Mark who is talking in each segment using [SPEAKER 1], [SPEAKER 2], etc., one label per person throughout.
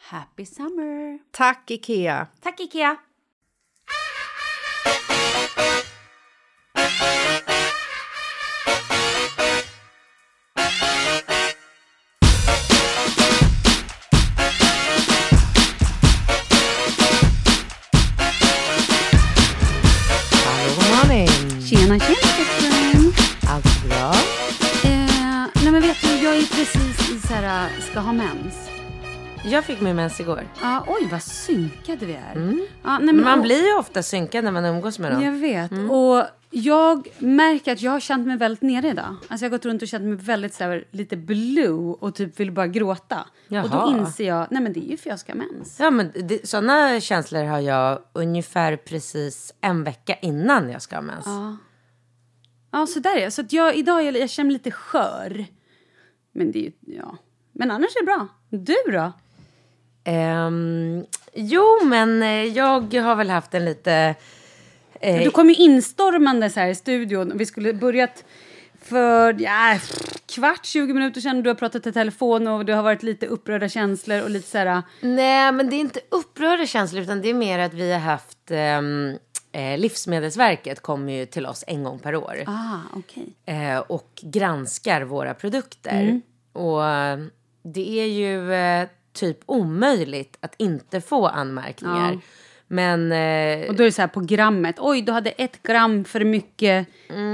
[SPEAKER 1] Happy summer!
[SPEAKER 2] Tack, Ikea!
[SPEAKER 1] Tack Ikea!
[SPEAKER 2] Hallå, god morgon!
[SPEAKER 1] Tjena tjena Katrin!
[SPEAKER 2] Allt bra?
[SPEAKER 1] Eh, nej men vet du, jag är precis i så här, äh, ska ha mens.
[SPEAKER 3] Jag fick min mens igår.
[SPEAKER 1] Ja, oj vad synkade vi är.
[SPEAKER 2] Mm.
[SPEAKER 1] Ja, nej,
[SPEAKER 3] Men man
[SPEAKER 1] och-
[SPEAKER 3] blir ju ofta synkad när man umgås med dem.
[SPEAKER 1] Jag vet.
[SPEAKER 3] Mm.
[SPEAKER 1] Och jag märker att jag har känt mig väldigt nere idag. Alltså jag har gått runt och känt mig väldigt så här, lite blue och typ vill bara gråta. Och då
[SPEAKER 3] Jaha.
[SPEAKER 1] inser jag, nej men det är ju för jag ska ha mens.
[SPEAKER 3] Ja, men det, sådana känslor har jag ungefär precis en vecka innan jag ska ha mens.
[SPEAKER 1] Ja, så där är jag. Så att jag, idag är jag, jag känner mig lite skör. Men det är ju, ja. Men annars är det bra. Du då?
[SPEAKER 3] Ehm, jo, men eh, jag har väl haft en lite... eh,
[SPEAKER 1] Du kom ju instormande så här i studion och vi skulle börjat för ja, kvart, 20 minuter sedan. Du har pratat i telefon och du har varit lite upprörda känslor och lite så här...
[SPEAKER 3] Nej, men det är inte upprörda känslor utan det är mer att vi har haft... ehm, eh, Livsmedelsverket kommer ju till oss en gång per år.
[SPEAKER 1] Ah, okej.
[SPEAKER 3] eh, och granskar våra produkter.
[SPEAKER 1] Mm.
[SPEAKER 3] Och eh, det är ju eh, typ omöjligt att inte få anmärkningar.
[SPEAKER 1] Ja.
[SPEAKER 3] Men... Eh,
[SPEAKER 1] Och då är det så här på grammet. Oj, du hade ett gram för mycket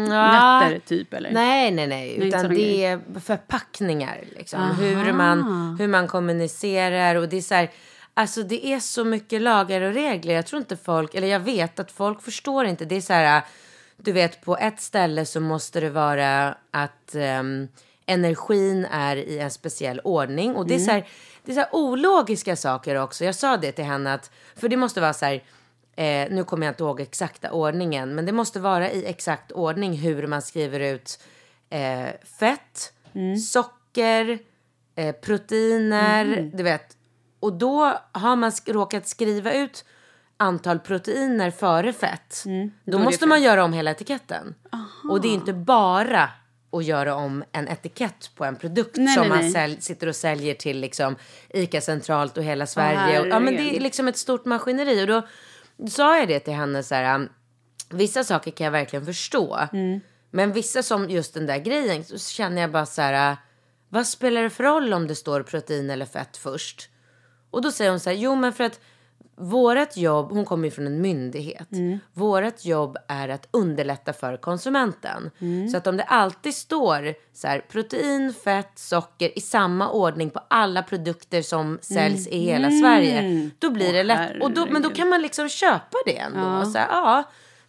[SPEAKER 1] nötter, typ. Eller?
[SPEAKER 3] Mm, Nej, nej, nej.
[SPEAKER 1] inte
[SPEAKER 3] Utan
[SPEAKER 1] sådana
[SPEAKER 3] det är förpackningar. Liksom. Hur, man, hur man kommunicerar. Och det, är så här, alltså, det är så mycket lagar och regler. Jag tror inte folk, eller jag vet att folk förstår inte. Det är så här, du vet på ett ställe så måste det vara att ehm, energin är i en speciell ordning. Och det är, så här, det är så här ologiska saker också. Jag sa det till henne att, för det måste vara så här. Eh, nu kommer jag inte ihåg exakta ordningen, men det måste vara i exakt ordning hur man skriver ut eh, fett,
[SPEAKER 1] Mm.
[SPEAKER 3] socker, eh, proteiner,
[SPEAKER 1] Mm.
[SPEAKER 3] du vet. Och då har man sk- råkat skriva ut antal proteiner före fett.
[SPEAKER 1] Mm.
[SPEAKER 3] Då måste man göra om hela etiketten. Och det är inte bara att göra om en etikett på en produkt
[SPEAKER 1] Nej,
[SPEAKER 3] som
[SPEAKER 1] nej,
[SPEAKER 3] man
[SPEAKER 1] nej.
[SPEAKER 3] Säl- sitter och säljer till liksom ICA centralt och hela Sverige. och, ja, men det är
[SPEAKER 1] herregud.
[SPEAKER 3] liksom ett stort maskineri. Och då sa jag det till henne så här. um, Vissa saker kan jag verkligen förstå. Men vissa som just den där grejen så känner jag bara så här. uh, Vad spelar det för roll om det står protein eller fett först? Och då säger hon så här. Jo men för att vårat jobb, hon kommer ju från en myndighet.
[SPEAKER 1] Mm.
[SPEAKER 3] Vårat jobb är att underlätta för konsumenten.
[SPEAKER 1] Mm.
[SPEAKER 3] Så att om det alltid står så här, protein, fett, socker i samma ordning på alla produkter som säljs
[SPEAKER 1] Mm.
[SPEAKER 3] i hela Sverige. Då blir det lätt. Och då, men då kan man liksom köpa det ändå. Och så här, ja,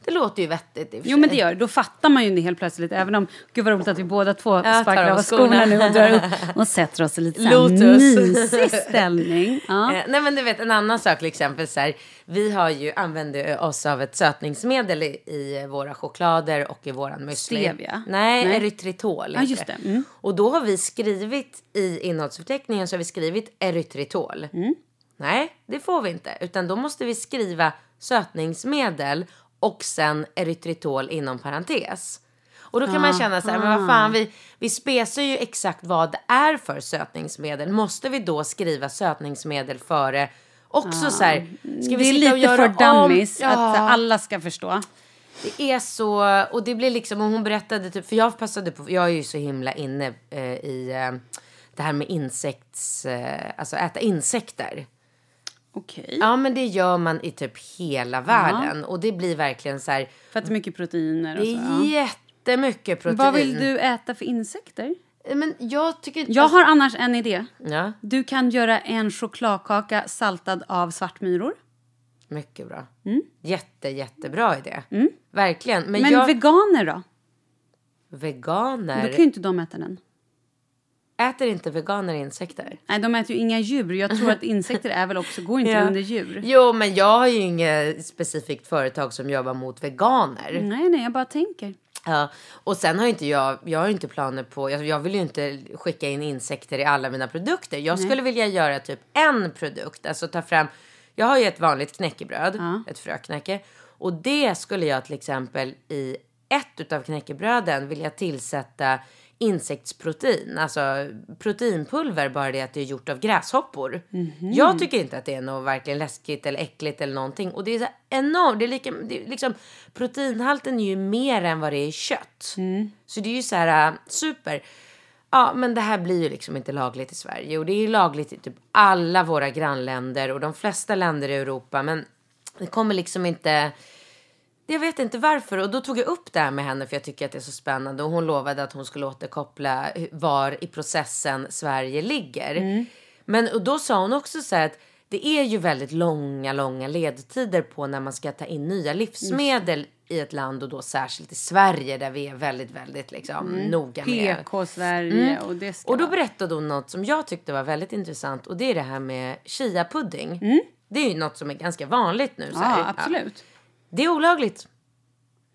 [SPEAKER 3] det låter ju vettigt i och för
[SPEAKER 1] Jo, men det
[SPEAKER 3] sig.
[SPEAKER 1] gör det. Då fattar man ju det helt plötsligt. Även om, gud vad roligt att vi båda två
[SPEAKER 3] tar
[SPEAKER 1] sparkar
[SPEAKER 3] av
[SPEAKER 1] av
[SPEAKER 3] oss
[SPEAKER 1] skorna
[SPEAKER 3] skorna.
[SPEAKER 1] nu och drar upp och sätter oss i lite så här
[SPEAKER 3] Lotus.
[SPEAKER 1] mysig ställning. Ja.
[SPEAKER 3] Eh, nej men du vet en annan sak till exempel så här, vi har ju använder oss av ett sötningsmedel i, i våra choklader och i våran müsli.
[SPEAKER 1] Stevia?
[SPEAKER 3] Nej,
[SPEAKER 1] Nej.
[SPEAKER 3] erytritol.
[SPEAKER 1] Ja,
[SPEAKER 3] heter
[SPEAKER 1] just det. Mm.
[SPEAKER 3] Och då har vi skrivit i innehållsförteckningen så har vi skrivit erytritol.
[SPEAKER 1] Mm.
[SPEAKER 3] Nej, det får vi inte. Utan då måste vi skriva sötningsmedel och sen erytritol inom parentes. Och då kan man känna så här, men vad fan, vi, vi spesar ju exakt vad det är för sötningsmedel. Måste vi då skriva sötningsmedel före också så här, ska vi
[SPEAKER 1] det är
[SPEAKER 3] sitta och
[SPEAKER 1] lite
[SPEAKER 3] göra
[SPEAKER 1] för
[SPEAKER 3] om?
[SPEAKER 1] dummies att så här, alla ska förstå.
[SPEAKER 3] Det är så, och det blir liksom, och hon berättade typ, för jag passade på, jag är ju så himla inne eh, i eh, det här med insekts, eh, alltså äta insekter.
[SPEAKER 1] Okej.
[SPEAKER 3] Ja men det gör man i typ hela världen och det blir verkligen så här,
[SPEAKER 1] För att det är mycket proteiner och
[SPEAKER 3] det
[SPEAKER 1] så.
[SPEAKER 3] är
[SPEAKER 1] alltså, Ja.
[SPEAKER 3] jättemycket protein.
[SPEAKER 1] Vad vill du äta för insekter?
[SPEAKER 3] Eh, Men jag tycker inte...
[SPEAKER 1] Jag har annars en idé.
[SPEAKER 3] Ja,
[SPEAKER 1] Du kan göra en chokladkaka saltad av svartmyror.
[SPEAKER 3] mycket bra. Jätte, jättebra idé. Verkligen. Men,
[SPEAKER 1] Mm. Men
[SPEAKER 3] jag,
[SPEAKER 1] veganer då?
[SPEAKER 3] veganer,
[SPEAKER 1] Då kan ju inte de äta den.
[SPEAKER 3] äter inte veganer insekter?
[SPEAKER 1] Nej, de äter ju inga djur. Jag tror att insekter är väl också, går inte
[SPEAKER 3] Ja.
[SPEAKER 1] under djur.
[SPEAKER 3] Jo, men jag har ju inget specifikt företag som jobbar mot veganer.
[SPEAKER 1] Nej, nej, jag bara tänker.
[SPEAKER 3] Ja, och sen har ju inte jag, jag har ju inte planer på, jag, jag vill ju inte skicka in insekter i alla mina produkter. Jag skulle vilja göra typ en produkt, alltså ta fram, jag har ju ett vanligt knäckebröd, ett fröknäcke. Och det skulle jag till exempel i ett utav knäckebröden vilja tillsätta insektsprotein, alltså proteinpulver, bara det att det är gjort av gräshoppor. Jag tycker inte att det är något verkligen läskigt eller äckligt eller någonting. Och det är så här enormt, det är lika, det är liksom, proteinhalten är ju mer än vad det är i kött. Så det är ju så här äh, super. Ja, men det här blir ju liksom inte lagligt i Sverige och det är ju lagligt i typ alla våra grannländer och de flesta länder i Europa, men det kommer liksom inte jag vet inte varför. Och då tog jag upp det här med henne för jag tycker att det är så spännande. Och hon lovade att hon skulle återkoppla hu- var i processen Sverige ligger.
[SPEAKER 1] Mm.
[SPEAKER 3] Men och då sa hon också så här att det är ju väldigt långa, långa ledtider på när man ska ta in nya livsmedel i ett land och då särskilt i Sverige där vi är väldigt, väldigt liksom noga med.
[SPEAKER 1] PK-Sverige Mm. och det Mm. ska
[SPEAKER 3] Och då
[SPEAKER 1] vara-
[SPEAKER 3] berättade hon något som jag tyckte var väldigt intressant och det är det här med chia-pudding. Det är ju något som är ganska vanligt nu. Så här.
[SPEAKER 1] Mm. Ja, absolut.
[SPEAKER 3] Det är olagligt.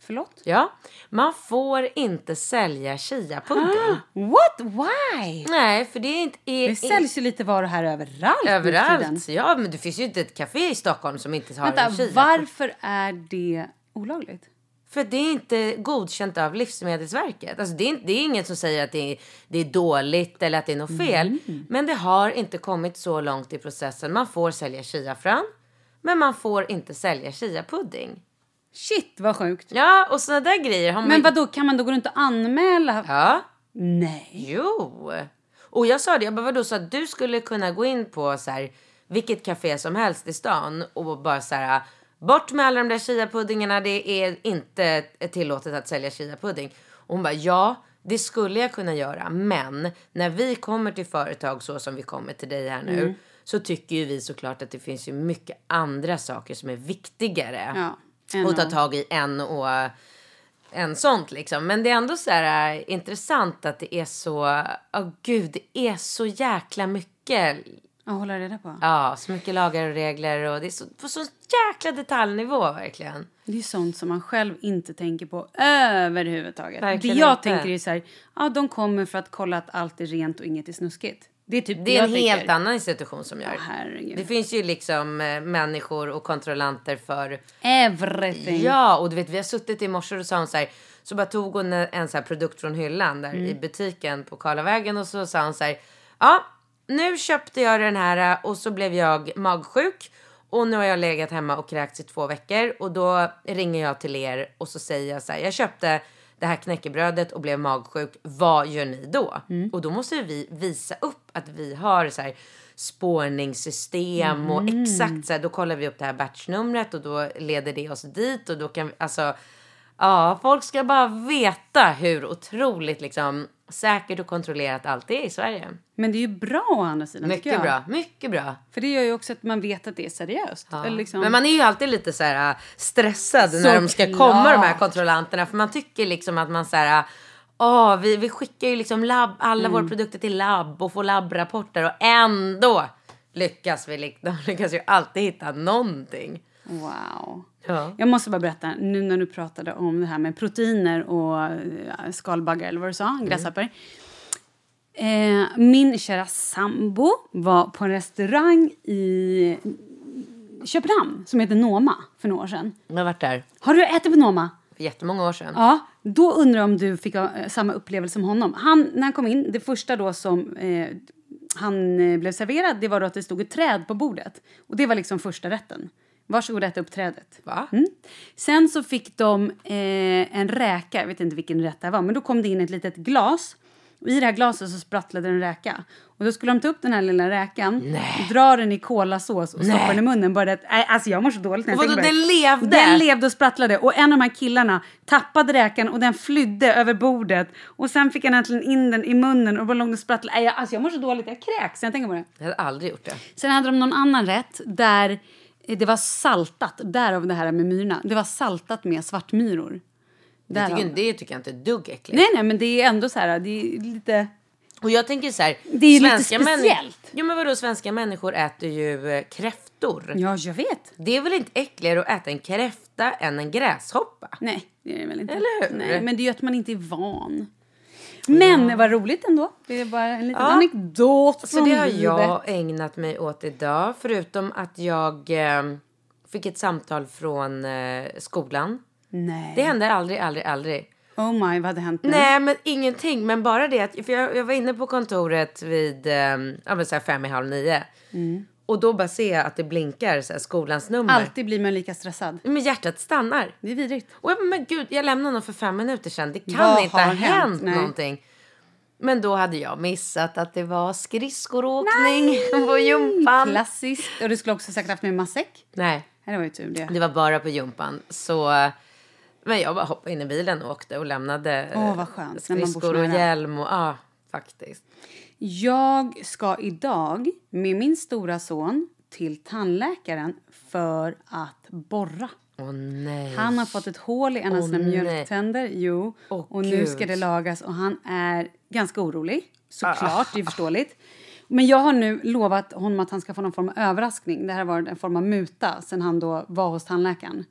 [SPEAKER 1] Förlåt?
[SPEAKER 3] Ja, man får inte sälja chiapudding.
[SPEAKER 1] What? Why?
[SPEAKER 3] Nej, för det är inte... Är,
[SPEAKER 1] Ah. Det säljs ju lite var och här överallt. nu för tiden.
[SPEAKER 3] överallt. Ja, men det finns ju inte ett café i Stockholm som inte har en
[SPEAKER 1] Vänta,
[SPEAKER 3] chia.
[SPEAKER 1] varför är det olagligt?
[SPEAKER 3] För det är inte godkänt av Livsmedelsverket. Alltså det, är inte, det är ingen som säger att det är, det är dåligt eller att det är något fel.
[SPEAKER 1] Mm.
[SPEAKER 3] Men det har inte kommit så långt i processen. Man får sälja chiafrön, men man får inte sälja chiapudding.
[SPEAKER 1] Shit, vad sjukt.
[SPEAKER 3] Ja, och sådana där grejer har man...
[SPEAKER 1] Men vad då kan man då gå runt och anmäla?
[SPEAKER 3] Ja.
[SPEAKER 1] Nej.
[SPEAKER 3] Jo! Och jag sa det, jag bara vadå, så att du skulle kunna gå in på så här, vilket café som helst i stan och bara så här, Bort med alla de där chiapuddingarna, det är inte tillåtet att sälja chiapudding. Och hon bara, ja det skulle jag kunna göra men när vi kommer till företag så som vi kommer till dig här
[SPEAKER 1] Mm.
[SPEAKER 3] nu så tycker ju vi såklart att det finns ju mycket andra saker som är viktigare
[SPEAKER 1] Ja, än
[SPEAKER 3] att ta
[SPEAKER 1] att-
[SPEAKER 3] tag i än och än sånt liksom. Men det är ändå så här äh, intressant att det är så, ja gud det är så jäkla mycket
[SPEAKER 1] Ja, hålla reda på.
[SPEAKER 3] Ja, så mycket lagar och regler och det är så, på så jäkla detaljnivå verkligen.
[SPEAKER 1] Det är ju sånt som man själv inte tänker på överhuvudtaget.
[SPEAKER 3] Verkligen
[SPEAKER 1] det jag
[SPEAKER 3] inte.
[SPEAKER 1] tänker är så här, ja, de kommer för att kolla att allt är rent och inget är snuskigt. Det är typ det,
[SPEAKER 3] Det är
[SPEAKER 1] jag
[SPEAKER 3] en
[SPEAKER 1] tänker.
[SPEAKER 3] helt annan institution som gör.
[SPEAKER 1] herregud.
[SPEAKER 3] det finns ju liksom eh, människor och kontrollanter för
[SPEAKER 1] Everything.
[SPEAKER 3] Ja, och du vet vi har suttit i morse och sa hon så här. Så bara tog hon en, en så här produkt från hyllan där i butiken på Karlavägen och så sa hon så här. Ja, nu köpte jag den här eh, och så blev jag magsjuk. Och nu har jag legat hemma och kräkts i två veckor och då ringer jag till er och så säger jag så här. Jag köpte det här knäckebrödet och blev magsjuk. Vad gör ni då?
[SPEAKER 1] Mm.
[SPEAKER 3] Och då måste ju vi visa upp att vi har så här spårningssystem och
[SPEAKER 1] Mm.
[SPEAKER 3] exakt så här, då kollar vi upp det här batchnumret och då leder det oss dit och då kan vi, alltså ja, folk ska bara veta hur otroligt liksom säkert och kontrollerat allt är i Sverige.
[SPEAKER 1] Men det är ju bra å andra sidan. tycker
[SPEAKER 3] Mycket
[SPEAKER 1] jag.
[SPEAKER 3] bra, mycket bra.
[SPEAKER 1] För det gör ju också att man vet att det är seriöst.
[SPEAKER 3] Ja.
[SPEAKER 1] Eller liksom,
[SPEAKER 3] Men man är ju alltid lite så här äh, stressad när de ska komma de här
[SPEAKER 1] Såklart.
[SPEAKER 3] kontrollanterna för man tycker liksom att man så här äh, Åh, vi, vi skickar ju liksom labb, alla
[SPEAKER 1] Mm.
[SPEAKER 3] våra produkter till labb och får labbrapporter och ändå lyckas vi lik- de lyckas ju alltid hitta någonting.
[SPEAKER 1] Wow.
[SPEAKER 3] Ja.
[SPEAKER 1] Jag måste bara berätta, nu när du pratade om det här med proteiner och eh, skalbaggar eller vad du sa, gräshoppor. Eh, min kära sambo var på en restaurang i Köpenhamn som heter Noma för några år sedan.
[SPEAKER 3] Jag har varit där
[SPEAKER 1] Har du ätit på Noma?
[SPEAKER 3] för jättemånga år sedan.
[SPEAKER 1] Ja, då undrar jag om du fick eh, samma upplevelse som honom. Han, när han kom in, det första då som eh, han eh, blev serverad, det var då att det stod ett träd på bordet. Och det var liksom första rätten. Varsågod äta upp trädet.
[SPEAKER 3] Va?
[SPEAKER 1] Mm. Sen så fick de eh, en räka, jag vet inte vilken rätt det var, men då kom det in ett litet glas. Och I det här glaset så sprattlade en räka. Och då skulle de ta upp den här lilla räkan, dra den i kolasås och stoppa den i munnen. Bara det, att- nej, alltså jag mår så dåligt när jag
[SPEAKER 3] Och vadå,
[SPEAKER 1] tänker på det.
[SPEAKER 3] den levde?
[SPEAKER 1] Den levde och sprattlade. Och en av de här killarna tappade räkan och den flydde över bordet. Och sen fick han äntligen in den i munnen och bara låg och sprattlade. Nej, jag- Alltså jag mår så dåligt, jag kräks när jag tänker på det.
[SPEAKER 3] Jag hade aldrig gjort det.
[SPEAKER 1] Sen hade de någon annan rätt där eh, det var saltat, därav det här med myrorna. Det var saltat med svartmyror.
[SPEAKER 3] Det
[SPEAKER 1] Därav.
[SPEAKER 3] tycker, det tycker jag inte är ett dugg äckligt.
[SPEAKER 1] Nej, nej, men det är ändå så här, det är lite...
[SPEAKER 3] Och jag tänker så här.
[SPEAKER 1] Det är ju lite
[SPEAKER 3] männi-
[SPEAKER 1] speciellt.
[SPEAKER 3] Jo men vadå, svenska människor äter ju eh, kräftor.
[SPEAKER 1] Ja, jag vet.
[SPEAKER 3] Det är väl inte äckligare att äta en kräfta än en gräshoppa?
[SPEAKER 1] Nej, det är det väl inte.
[SPEAKER 3] Eller hur?
[SPEAKER 1] Nej, men det är ju att man inte är van. Men det var roligt ändå. Det är bara en liten anekdot
[SPEAKER 3] Så
[SPEAKER 1] från
[SPEAKER 3] Alltså, det har
[SPEAKER 1] livet.
[SPEAKER 3] jag ägnat mig åt idag. Förutom att jag eh, fick ett samtal från eh, skolan.
[SPEAKER 1] Nej.
[SPEAKER 3] Det händer aldrig, aldrig, aldrig.
[SPEAKER 1] Oh my, vad hade hänt nu?
[SPEAKER 3] Nej, men ingenting. Men bara det att för jag, jag var inne på kontoret vid eh, ja, men så här fem i halv nio. Och då bara ser jag att det blinkar så här, skolans nummer.
[SPEAKER 1] Mm. Alltid blir man lika stressad.
[SPEAKER 3] Men hjärtat stannar.
[SPEAKER 1] Det är vidrigt.
[SPEAKER 3] Och jag bara, men gud, jag lämnade honom för fem minuter sedan. Det kan
[SPEAKER 1] Vad
[SPEAKER 3] inte ha
[SPEAKER 1] har hänt?
[SPEAKER 3] hänt
[SPEAKER 1] Nej.
[SPEAKER 3] någonting. Men då hade jag missat att det var skridskoråkning på gympan.
[SPEAKER 1] Klassiskt. Och du skulle också säkert haft med matsäck.
[SPEAKER 3] Nej,
[SPEAKER 1] Nej, Det var ju tur det.
[SPEAKER 3] det var bara på gympan. Så, men jag bara hoppade in i bilen och åkte och lämnade eh,
[SPEAKER 1] Åh, vad skönt, när man bor så
[SPEAKER 3] skridskor och
[SPEAKER 1] nära.
[SPEAKER 3] hjälm. Och, ja, faktiskt.
[SPEAKER 1] Jag ska idag med min stora son till tandläkaren för att borra.
[SPEAKER 3] Åh nej.
[SPEAKER 1] Han har fått ett hål i en av
[SPEAKER 3] Åh,
[SPEAKER 1] sina
[SPEAKER 3] nej.
[SPEAKER 1] mjölktänder. Jo,
[SPEAKER 3] Åh,
[SPEAKER 1] och nu ska
[SPEAKER 3] Gud.
[SPEAKER 1] det lagas och han är ganska orolig.
[SPEAKER 3] Ah.
[SPEAKER 1] Såklart, det är förståeligt. Men jag har nu lovat honom att han ska få någon form av överraskning. Det här var en form av muta sen han då var hos tandläkaren.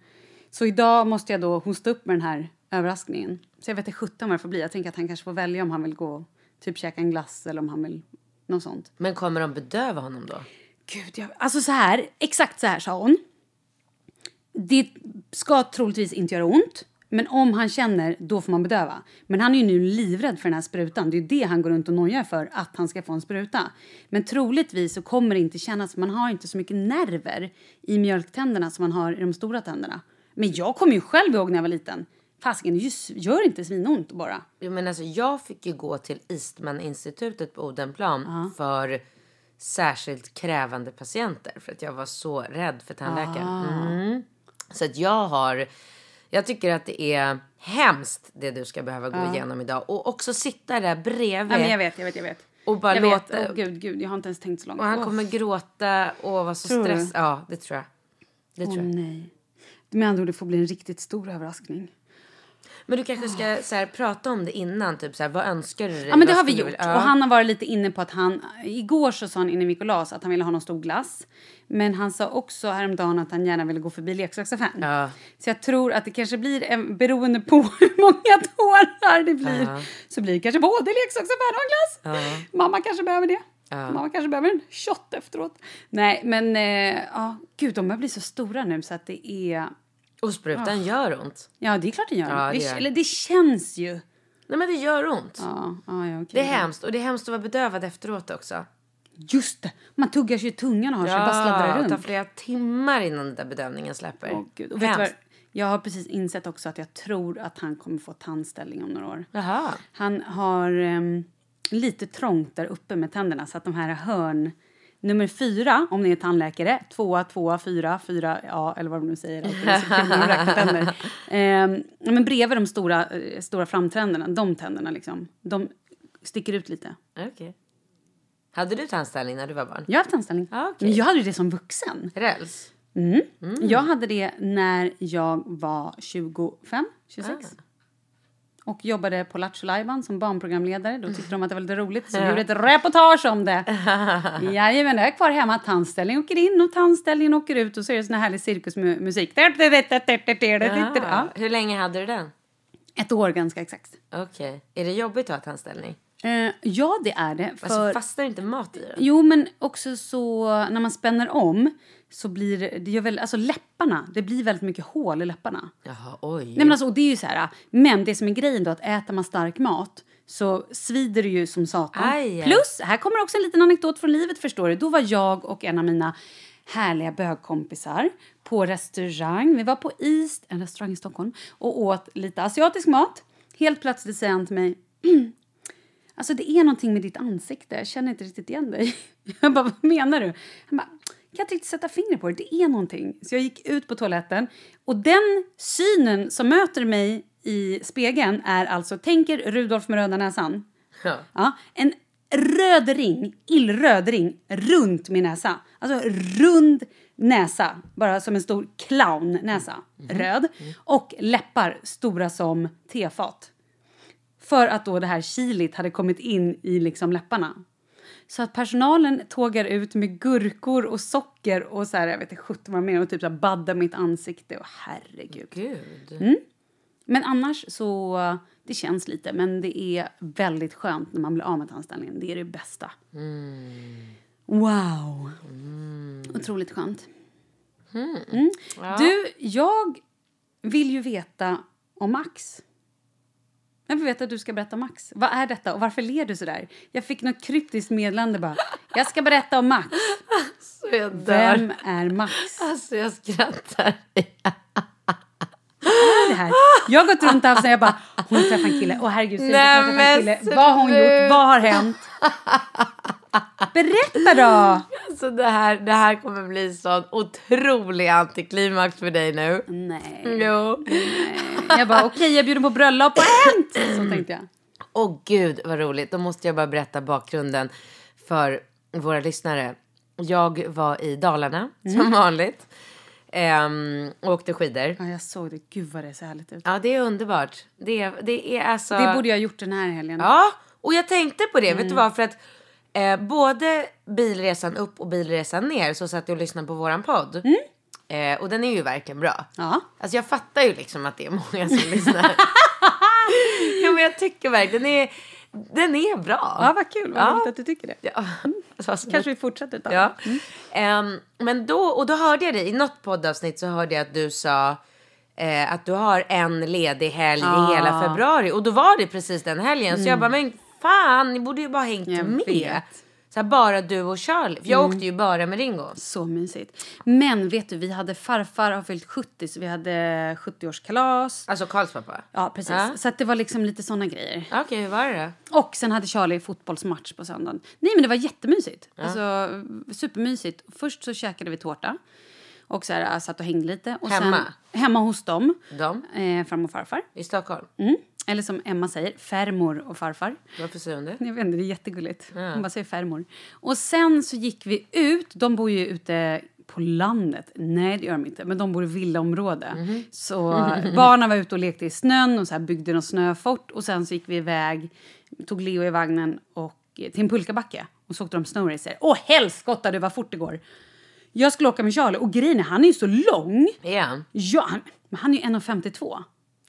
[SPEAKER 1] Så idag måste jag då hosta upp med den här överraskningen. Så jag vet inte sjutton vad det får bli. Jag tänker att han kanske får välja om han vill gå och typ käka en glass eller om han vill något sånt.
[SPEAKER 3] Men kommer de bedöva honom då?
[SPEAKER 1] Gud, jag, alltså så här, exakt så här sa hon. Det ska troligtvis inte göra ont, men om han känner, då får man bedöva. Men han är ju nu livrädd för den här sprutan. Det är ju det han går runt och nojar för, att han ska få en spruta. Men troligtvis så kommer det inte kännas, man har inte så mycket nerver i mjölktänderna som man har i de stora tänderna. Men jag kommer ju själv ihåg när jag var liten. Fasken, det är ju s- gör inte svinont bara.
[SPEAKER 3] Jo, men alltså, jag fick ju gå till Eastman-institutet på Odenplan för
[SPEAKER 1] Ah.
[SPEAKER 3] särskilt krävande patienter för att jag var så rädd för tandläkaren. Mm. Så att jag har, jag tycker att det är hemskt det du ska behöva gå igenom idag. Och också sitta där bredvid.
[SPEAKER 1] Ja, men jag vet, jag vet, jag vet.
[SPEAKER 3] Och bara
[SPEAKER 1] jag
[SPEAKER 3] låta-
[SPEAKER 1] Vet. Åh, gud, gud, jag har inte ens tänkt så långt.
[SPEAKER 3] Och han
[SPEAKER 1] Åh,
[SPEAKER 3] kommer gråta och vara så
[SPEAKER 1] Tror du?
[SPEAKER 3] stressad. Ja, det tror jag. Det
[SPEAKER 1] åh,
[SPEAKER 3] tror jag. Eh,
[SPEAKER 1] nej. Med andra ord, det får bli en riktigt stor överraskning.
[SPEAKER 3] Men du kanske ska så här, prata om det innan. Typ så här, vad önskar du dig?
[SPEAKER 1] Ja, men det
[SPEAKER 3] Vad
[SPEAKER 1] har vi
[SPEAKER 3] skulle du
[SPEAKER 1] gjort.
[SPEAKER 3] vilja- Ja.
[SPEAKER 1] Och han har varit lite inne på att han... Igår så sa han inne i Mikolas att han ville ha någon stor glass. Men han sa också häromdagen att han gärna ville gå förbi leksaksaffären.
[SPEAKER 3] Ja.
[SPEAKER 1] Så jag tror att det kanske blir, en, beroende på hur många tårar det blir, så blir det kanske både leksaksaffär och en glass. Mamma kanske behöver det. Mamma kanske behöver en shot efteråt. Nej, men eh, ja, gud, de börjar bli så stora nu så att det är...
[SPEAKER 3] Och
[SPEAKER 1] Ah.
[SPEAKER 3] sprutan gör ont.
[SPEAKER 1] Ja, det är klart det gör.
[SPEAKER 3] Ja, det
[SPEAKER 1] det
[SPEAKER 3] gör.
[SPEAKER 1] Eller det känns ju.
[SPEAKER 3] Nej, men det gör ont.
[SPEAKER 1] Ja, ja, ja, okej.
[SPEAKER 3] Det är hemskt. Och det är hemskt att vara bedövad efteråt också.
[SPEAKER 1] Just det! Man tuggar sig i tungan och har sig bara sladdrar
[SPEAKER 3] det tar
[SPEAKER 1] runt.
[SPEAKER 3] flera timmar innan den där bedövningen släpper.
[SPEAKER 1] Åh, gud. Och vet du vad?
[SPEAKER 3] Hemskt.
[SPEAKER 1] Jag har precis insett också att jag tror att han kommer få tandställning om några år.
[SPEAKER 3] Jaha.
[SPEAKER 1] Han har ehm, lite trångt där uppe med tänderna så att de här hörn... Nummer fyra, om ni är tandläkare, tvåa, tvåa, fyra, fyra, ja, eller vad de nu säger. alltid. Det är så kul när de räknar tänder. Ehm, ja, men bredvid de stora, eh, stora framtänderna, de tänderna liksom, de sticker ut lite.
[SPEAKER 3] Okej. Hade du tandställning när du var barn?
[SPEAKER 1] Jag har haft tandställning.
[SPEAKER 3] Ja, okej.
[SPEAKER 1] Men jag hade ju det som vuxen.
[SPEAKER 3] Räls?
[SPEAKER 1] Jag hade det när jag var 25, 26. Och jobbade på Lattjo Lajban som barnprogramledare. Då tyckte de att det var lite roligt så vi gjorde ett reportage om det. Jajamän, jag är kvar hemma. Tandställningen åker in och tandställningen åker ut och så är det sån här härlig cirkusmusik. Ja.
[SPEAKER 3] Ah. Hur länge hade du den?
[SPEAKER 1] Ett år ganska exakt.
[SPEAKER 3] Okej. Är det jobbigt att ha tandställning?
[SPEAKER 1] Eh, Ja, det är det. För...
[SPEAKER 3] Alltså, fastnar inte mat i den?
[SPEAKER 1] Jo, men också så när man spänner om så blir det- det, gör väl, alltså läpparna, det blir väldigt mycket hål i läpparna.
[SPEAKER 3] Jaha, oj.
[SPEAKER 1] Nej, men, alltså, och det är ju så här, men det som är grejen då, att äter man stark mat så svider det ju som satan.
[SPEAKER 3] Aj.
[SPEAKER 1] Plus, här kommer också en liten anekdot från livet förstår du. Då var jag och en av mina härliga bögkompisar på restaurang. Vi var på East, en restaurang i Stockholm, och åt lite asiatisk mat. Helt plötsligt säger han till mig, Alltså det är någonting med ditt ansikte, jag känner inte riktigt igen dig. Jag bara, vad menar du? Han bara, kan inte riktigt sätta fingret på det, det är någonting. Så jag gick ut på toaletten och den synen som möter mig i spegeln är alltså, tänker Rudolf med röda näsan.
[SPEAKER 3] Ja.
[SPEAKER 1] Ja, en röd ring, illröd ring, runt min näsa. Alltså rund näsa, bara som en stor clownnäsa. Röd. Och läppar stora som tefat. För att då det här chilit hade kommit in i liksom läpparna. Så att personalen tågar ut med gurkor och socker och så här, jag vet inte sjutton vad de menar, och typ så här badda mitt ansikte. Och herregud.
[SPEAKER 3] Gud.
[SPEAKER 1] Men annars så, det känns lite, men det är väldigt skönt när man blir av med tandställningen. Det är det bästa. Wow! Otroligt skönt. Mm. Du, jag vill ju veta om Max. Jag vill veta att du ska berätta om Max. Vad är detta och varför ler du sådär? Jag fick något kryptiskt meddelande bara. Jag ska berätta om Max.
[SPEAKER 3] Så jag dör.
[SPEAKER 1] Vem är Max?
[SPEAKER 3] Alltså, jag skrattar.
[SPEAKER 1] är det här? Jag har gått runt och haft sån här, jag bara, hon träffade en kille, åh herregud, säg
[SPEAKER 3] Nej,
[SPEAKER 1] att hon träffade en
[SPEAKER 3] men
[SPEAKER 1] kille. Vad har hon gjort? Vad har hänt? Berätta då!
[SPEAKER 3] Alltså, det, här, det här kommer bli sån otrolig antiklimax för dig nu.
[SPEAKER 1] Nej.
[SPEAKER 3] Jo.
[SPEAKER 1] Jag bara, okej jag bjuder på bröllop, vad har hänt? Så tänkte jag.
[SPEAKER 3] Åh gud vad roligt. Då måste jag bara berätta bakgrunden för våra lyssnare. Jag var i Dalarna som vanligt. Ehm, och åkte skidor.
[SPEAKER 1] Mm. Ja, jag såg det, gud vad det ser härligt ut.
[SPEAKER 3] Ja det är underbart. Det, är- det är alltså.
[SPEAKER 1] Det borde jag Mm. ha gjort den här helgen.
[SPEAKER 3] Ja och jag tänkte på det. Vet du vad? För att eh, både bilresan upp och bilresan ner så satt jag och lyssnade på våran podd. Eh, och den är ju verkligen bra.
[SPEAKER 1] Mm. Ja.
[SPEAKER 3] Alltså jag fattar ju liksom att det är många som lyssnar. ja men jag tycker verkligen den är, den är bra.
[SPEAKER 1] Ja, vad kul, vad
[SPEAKER 3] Ja.
[SPEAKER 1] roligt att du tycker det.
[SPEAKER 3] Ja. Alltså,
[SPEAKER 1] Kanske vi fortsätter Mm. ett tag.
[SPEAKER 3] Ja. Ehm, men då, och då hörde jag dig, i något poddavsnitt så hörde jag att du sa eh, att du har en ledig helg i
[SPEAKER 1] Ah.
[SPEAKER 3] hela februari. Och då var det precis den helgen. Så jag bara, men fan, ni borde ju bara hängt
[SPEAKER 1] Mm. Jag
[SPEAKER 3] med.
[SPEAKER 1] vet. Mm.
[SPEAKER 3] Så här, bara du och Charlie. För jag åkte ju bara med Ringo.
[SPEAKER 1] Så mysigt. Men vet du, vi hade farfar har fyllt 70 så vi hade 70-årskalas.
[SPEAKER 3] Alltså Karls pappa.
[SPEAKER 1] Ja, precis.
[SPEAKER 3] Ja.
[SPEAKER 1] Så att det var liksom lite såna grejer.
[SPEAKER 3] Okej, hur var det då?
[SPEAKER 1] Och sen hade Charlie fotbollsmatch på söndagen. Nej men det var jättemysigt. Alltså supermysigt. Först så käkade vi tårta. Och så här, satt och hängde lite. Och
[SPEAKER 3] Hemma?
[SPEAKER 1] Sen, hemma hos dem.
[SPEAKER 3] De?
[SPEAKER 1] Eh, farmor och farfar.
[SPEAKER 3] I Stockholm?
[SPEAKER 1] Mm. Eller som Emma säger, färmor och farfar.
[SPEAKER 3] Varför säger hon det?
[SPEAKER 1] Jag vet inte, det är jättegulligt. Hon bara säger färmor. Och sen så gick vi ut. De bor ju ute på landet. Nej, det gör de inte. Men de bor i villaområde. Så barnen var ute och lekte i snön och så här byggde något snöfort. Och sen så gick vi iväg, tog Leo i vagnen och, eh, till en pulkabacke. Och så åkte de snowracer. Åh, helskotta du vad fort det går! Jag skulle åka med Charlie och grejen är, han är ju så lång.
[SPEAKER 3] Igen?
[SPEAKER 1] Ja, han, men han är ju 1,52.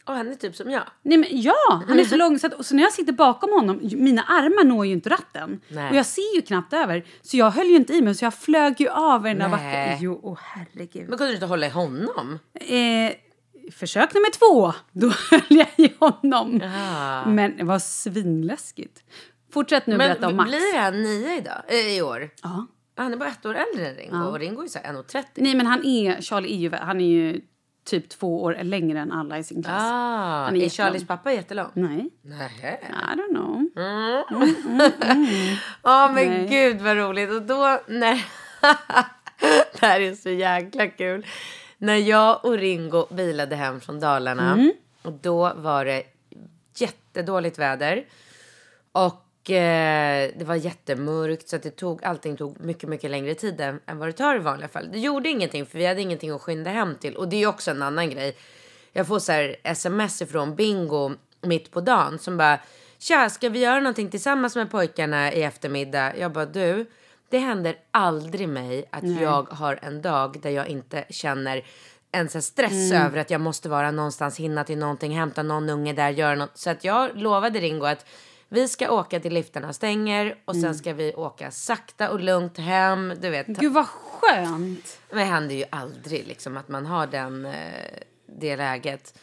[SPEAKER 3] Och han är typ som jag.
[SPEAKER 1] Nej, men ja, han är så lång. Så, att, och så när jag sitter bakom honom, ju- mina armar når ju inte ratten.
[SPEAKER 3] Nej.
[SPEAKER 1] Och jag ser ju knappt över. Så jag höll ju inte i mig, så jag flög ju av i den där
[SPEAKER 3] Nej.
[SPEAKER 1] backen. Jo, åh herregud.
[SPEAKER 3] Men kunde du inte hålla i honom?
[SPEAKER 1] Eh, försök nummer två, då höll jag i honom.
[SPEAKER 3] Ah.
[SPEAKER 1] Men det var svinläskigt. Fortsätt nu berätta om Max.
[SPEAKER 3] blir han nio idag? Eh, I år?
[SPEAKER 1] Ja.
[SPEAKER 3] Han är bara ett år äldre än Ringo. Och Ringo är så här 1,30.
[SPEAKER 1] Nej, men han är, Charlie är ju, han är ju typ två år längre än alla i sin klass.
[SPEAKER 3] Ah,
[SPEAKER 1] Han
[SPEAKER 3] är,
[SPEAKER 1] är jättelång.
[SPEAKER 3] Charlies pappa jättelång?
[SPEAKER 1] Nej,
[SPEAKER 3] Nej.
[SPEAKER 1] I don't know.
[SPEAKER 3] Mm. Ja Ah, men gud vad roligt. Och då när... det här är så jäkla kul. När jag och Ringo bilade hem från Dalarna.
[SPEAKER 1] Mm.
[SPEAKER 3] Och då var det jättedåligt väder. Och eh, det var jättemörkt så att det tog, allting tog mycket, mycket längre tid än, än vad det tar i vanliga fall. Det gjorde ingenting för vi hade ingenting att skynda hem till. Och det är ju också en annan grej. Jag får så här sms ifrån Bingo mitt på dagen som bara Tja, ska vi göra någonting tillsammans med pojkarna i eftermiddag? Jag bara du, det händer aldrig mig att jag har en dag där jag inte känner en sån här stress över att jag måste vara någonstans, hinna till någonting, hämta någon unge där, göra något. Så att jag lovade Ringo att vi ska åka till liftarna stänger och sen ska vi åka sakta och lugnt hem. Du vet, ta-
[SPEAKER 1] Gud vad skönt!
[SPEAKER 3] men det händer ju aldrig liksom, att man har den, eh, det läget.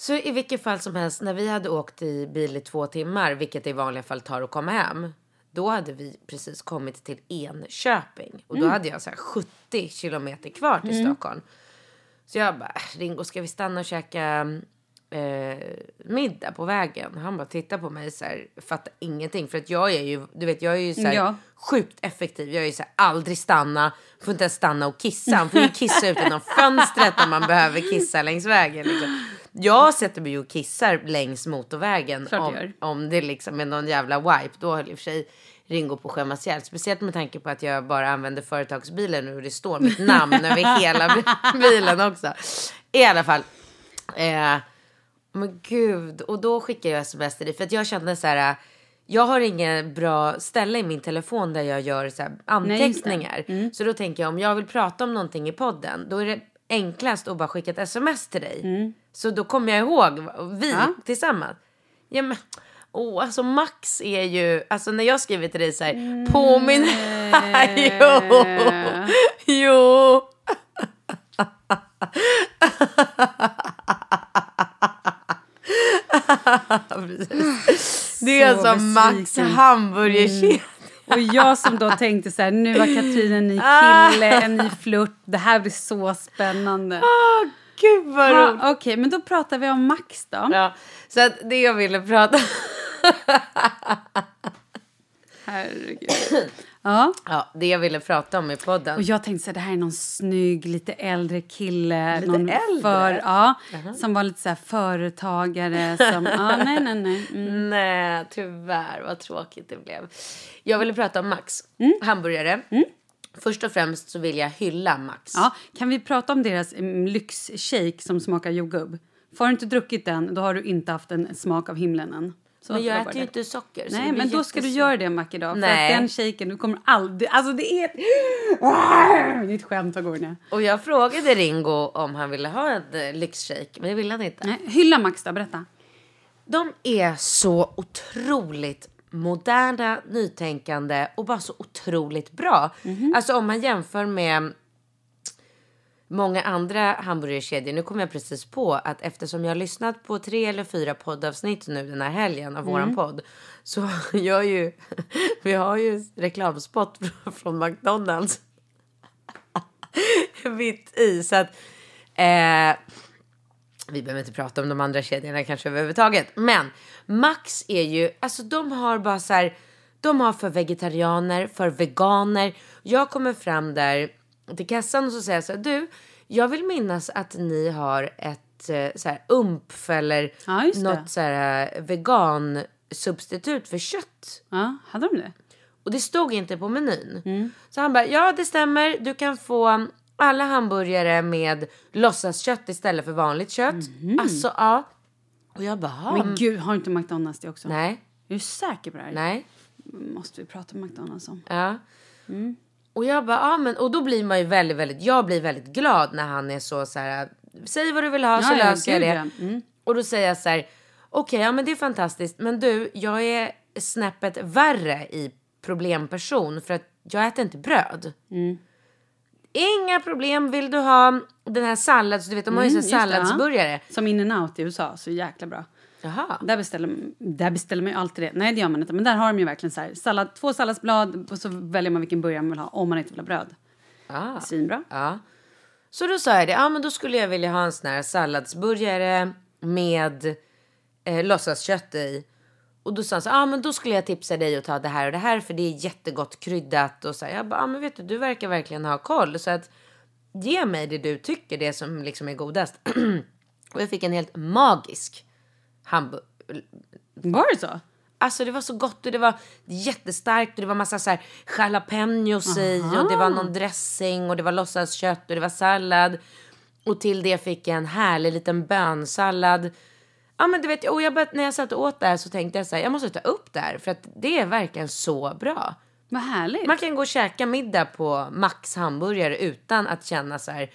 [SPEAKER 3] Så i vilket fall som helst, när vi hade åkt i bil i två timmar, vilket det i vanliga fall tar att komma hem, då hade vi precis kommit till Enköping. Och då hade jag så här 70 kilometer kvar till Stockholm. Så jag bara, "Äh, Ringo ska vi stanna och käka eh, middag på vägen? Han bara tittar på mig så här, fattar ingenting. För att jag är ju, du vet jag är ju så här
[SPEAKER 1] Ja.
[SPEAKER 3] sjukt effektiv. Jag är ju så här, aldrig stanna, får inte ens stanna och kissa. Han får ju kissa ut genom fönstret om man behöver kissa längs vägen. Liksom. Jag sätter mig ju och kissar längs motorvägen
[SPEAKER 1] Klart du
[SPEAKER 3] om,
[SPEAKER 1] gör.
[SPEAKER 3] om det liksom är någon jävla wipe. Då höll i och för sig Ringo på att skämmas ihjäl. Speciellt med tanke på att jag bara använder företagsbilen nu och det står mitt namn över hela bi- bilen också. I alla fall. Eh, men gud, och då skickade jag sms till dig för att jag kände så här. eh, Jag har ingen bra ställe i min telefon där jag gör så här anteckningar.
[SPEAKER 1] Mm.
[SPEAKER 3] Så då tänker jag om jag vill prata om någonting i podden då är det enklast att bara skicka ett sms till dig.
[SPEAKER 1] Mm.
[SPEAKER 3] Så då kommer jag ihåg, vi tillsammans. Ja, men, åh, alltså Max är ju, alltså när jag skriver till dig så här,
[SPEAKER 1] Mm.
[SPEAKER 3] påminn, jo, jo. Precis. Det är
[SPEAKER 1] Så
[SPEAKER 3] alltså Max
[SPEAKER 1] besviken. Mm.
[SPEAKER 3] hamburgerkedja.
[SPEAKER 1] Och jag som då tänkte så här, nu har Katrin en ny
[SPEAKER 3] Ah.
[SPEAKER 1] kille, en ny flört. Det här blir så spännande.
[SPEAKER 3] Åh, gud vad
[SPEAKER 1] Ja,
[SPEAKER 3] roligt.
[SPEAKER 1] Okej, men då pratar vi om Max då.
[SPEAKER 3] Ja, så att det jag ville prata
[SPEAKER 1] Herregud. Ja.
[SPEAKER 3] Ja, det jag ville prata om i
[SPEAKER 1] Och
[SPEAKER 3] podden.
[SPEAKER 1] jag tänkte så här, det här är någon snygg, lite äldre kille.
[SPEAKER 3] Lite
[SPEAKER 1] någon
[SPEAKER 3] äldre?
[SPEAKER 1] För, ja, Som var lite så här företagare som, ja, nej, nej, nej. Mm.
[SPEAKER 3] Nej, tyvärr. Vad tråkigt det blev. Jag ville prata om Max,
[SPEAKER 1] Mm.
[SPEAKER 3] hamburgare. Först och främst så vill jag hylla Max.
[SPEAKER 1] Ja, kan vi prata om deras mm, lyxshake som smakar jordgubb? Får du inte druckit den, då har du inte haft en smak av himlen än. Så
[SPEAKER 3] Men
[SPEAKER 1] det var
[SPEAKER 3] jag
[SPEAKER 1] bara det.
[SPEAKER 3] äter ju inte socker. så det
[SPEAKER 1] Nej,
[SPEAKER 3] blir
[SPEAKER 1] men då ska du
[SPEAKER 3] jättesvårt.
[SPEAKER 1] göra det en vacker dag. För
[SPEAKER 3] Nej.
[SPEAKER 1] att den shaken, du kommer aldrig... Alltså det är ett... Det är ett skämt vad går det
[SPEAKER 3] Och jag frågade Ringo om han ville ha en eh, lyxshake, men det ville han inte.
[SPEAKER 1] Nej, Hylla Max då, berätta.
[SPEAKER 3] De är så otroligt moderna, nytänkande och bara så otroligt bra. Alltså om man jämför med många andra hamburgerkedjor. Nu kom jag precis på att eftersom jag har lyssnat på tre eller fyra poddavsnitt nu den här helgen av våran podd så gör ju vi har ju reklamspot från McDonalds mitt i så att eh, vi behöver inte prata om de andra kedjorna kanske överhuvudtaget. Men Max är ju, alltså de har bara så här, de har för vegetarianer, för veganer. Jag kommer fram där till kassan och så säger jag så här, du, jag vill minnas att ni har ett eh, så här umpf eller
[SPEAKER 1] Ja, just det.
[SPEAKER 3] något så här eh, vegan substitut för kött.
[SPEAKER 1] Ja, hade de det?
[SPEAKER 3] Och det stod inte på menyn. Så han bara, ja det stämmer, du kan få alla hamburgare med låtsaskött istället för vanligt kött. Alltså ja. Och jag bara, "Ha,
[SPEAKER 1] Men gud, har inte McDonalds det också?
[SPEAKER 3] nej,
[SPEAKER 1] Mm. Är du säker på det här?
[SPEAKER 3] nej.
[SPEAKER 1] Måste vi prata med McDonalds om.
[SPEAKER 3] Ja.
[SPEAKER 1] Mm.
[SPEAKER 3] Och jag bara, ja men och då blir man ju väldigt, väldigt, jag blir väldigt glad när han är så så här, säg vad du vill ha så
[SPEAKER 1] Ja, ja,
[SPEAKER 3] löser jag
[SPEAKER 1] gud,
[SPEAKER 3] det.
[SPEAKER 1] ja. Mm.
[SPEAKER 3] Och då säger jag så här, okej ja men det är fantastiskt men du jag är snäppet värre i problemperson för att jag äter inte bröd.
[SPEAKER 1] Mm.
[SPEAKER 3] Inga problem, vill du ha den här sallads, du vet de har ju så här
[SPEAKER 1] Mm, just det, ja.
[SPEAKER 3] salladsburgare.
[SPEAKER 1] Som In-N-Out i USA, så jäkla bra.
[SPEAKER 3] Jaha.
[SPEAKER 1] Där beställer, där beställer man ju alltid det. Nej, det gör man inte. Men där har de ju verkligen så här, sallad, två salladsblad och så väljer man vilken burgare man vill ha om man inte vill ha bröd.
[SPEAKER 3] Ah.
[SPEAKER 1] Svinbra.
[SPEAKER 3] Ja. Så då sa jag det, ja men då skulle jag vilja ha en sån här salladsburgare med eh, låtsaskött i. Och då sa han så ja men då skulle jag tipsa dig att ta det här och det här för det är jättegott kryddat och så här. Jag bara, ja men vet du, du verkar verkligen ha koll så att ge mig det du tycker, det som liksom är godast. och jag fick en helt magisk hamburgare.
[SPEAKER 1] Var det så?
[SPEAKER 3] Alltså det var så gott och det var jättestarkt och det var massa så här jalapenos i och det var någon dressing och det var låtsaskött och det var sallad. Och till det fick jag en härlig liten bönsallad. Ja men du vet, och jag började, när jag satt och åt det här så tänkte jag så här, jag måste ta upp det här för att det är verkligen så bra.
[SPEAKER 1] Vad härligt.
[SPEAKER 3] Man kan gå och käka middag på Max hamburgare utan att känna så här,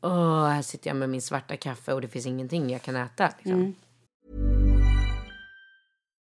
[SPEAKER 3] åh här sitter jag med min svarta kaffe och det finns ingenting jag kan äta. Liksom.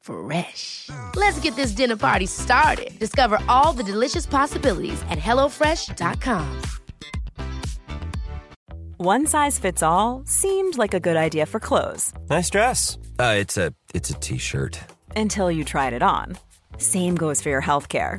[SPEAKER 4] Fresh. Let's get this dinner party started. Discover all the delicious possibilities at hellofresh.com.
[SPEAKER 5] One size fits all seemed like a good idea for clothes
[SPEAKER 6] Nice dress.
[SPEAKER 7] Uh, it's a it's a t-shirt.
[SPEAKER 5] until you tried it on. Same goes for your healthcare.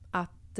[SPEAKER 2] att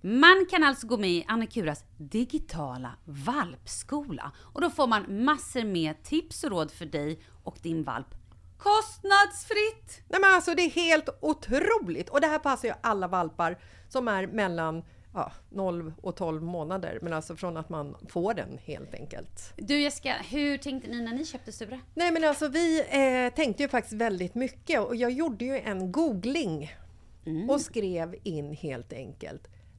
[SPEAKER 1] Man kan alltså gå med i Annikuras digitala valpskola och då får man massor med tips och råd för dig och din valp kostnadsfritt.
[SPEAKER 2] Nej men alltså det är helt otroligt! Och det här passar ju alla valpar som är mellan ja, 0 och 12 månader. Men alltså från att man får den helt enkelt.
[SPEAKER 1] Du Jessica, hur tänkte ni när ni köpte Sture?
[SPEAKER 2] Nej men alltså vi eh, tänkte ju faktiskt väldigt mycket och jag gjorde ju en googling och skrev in helt enkelt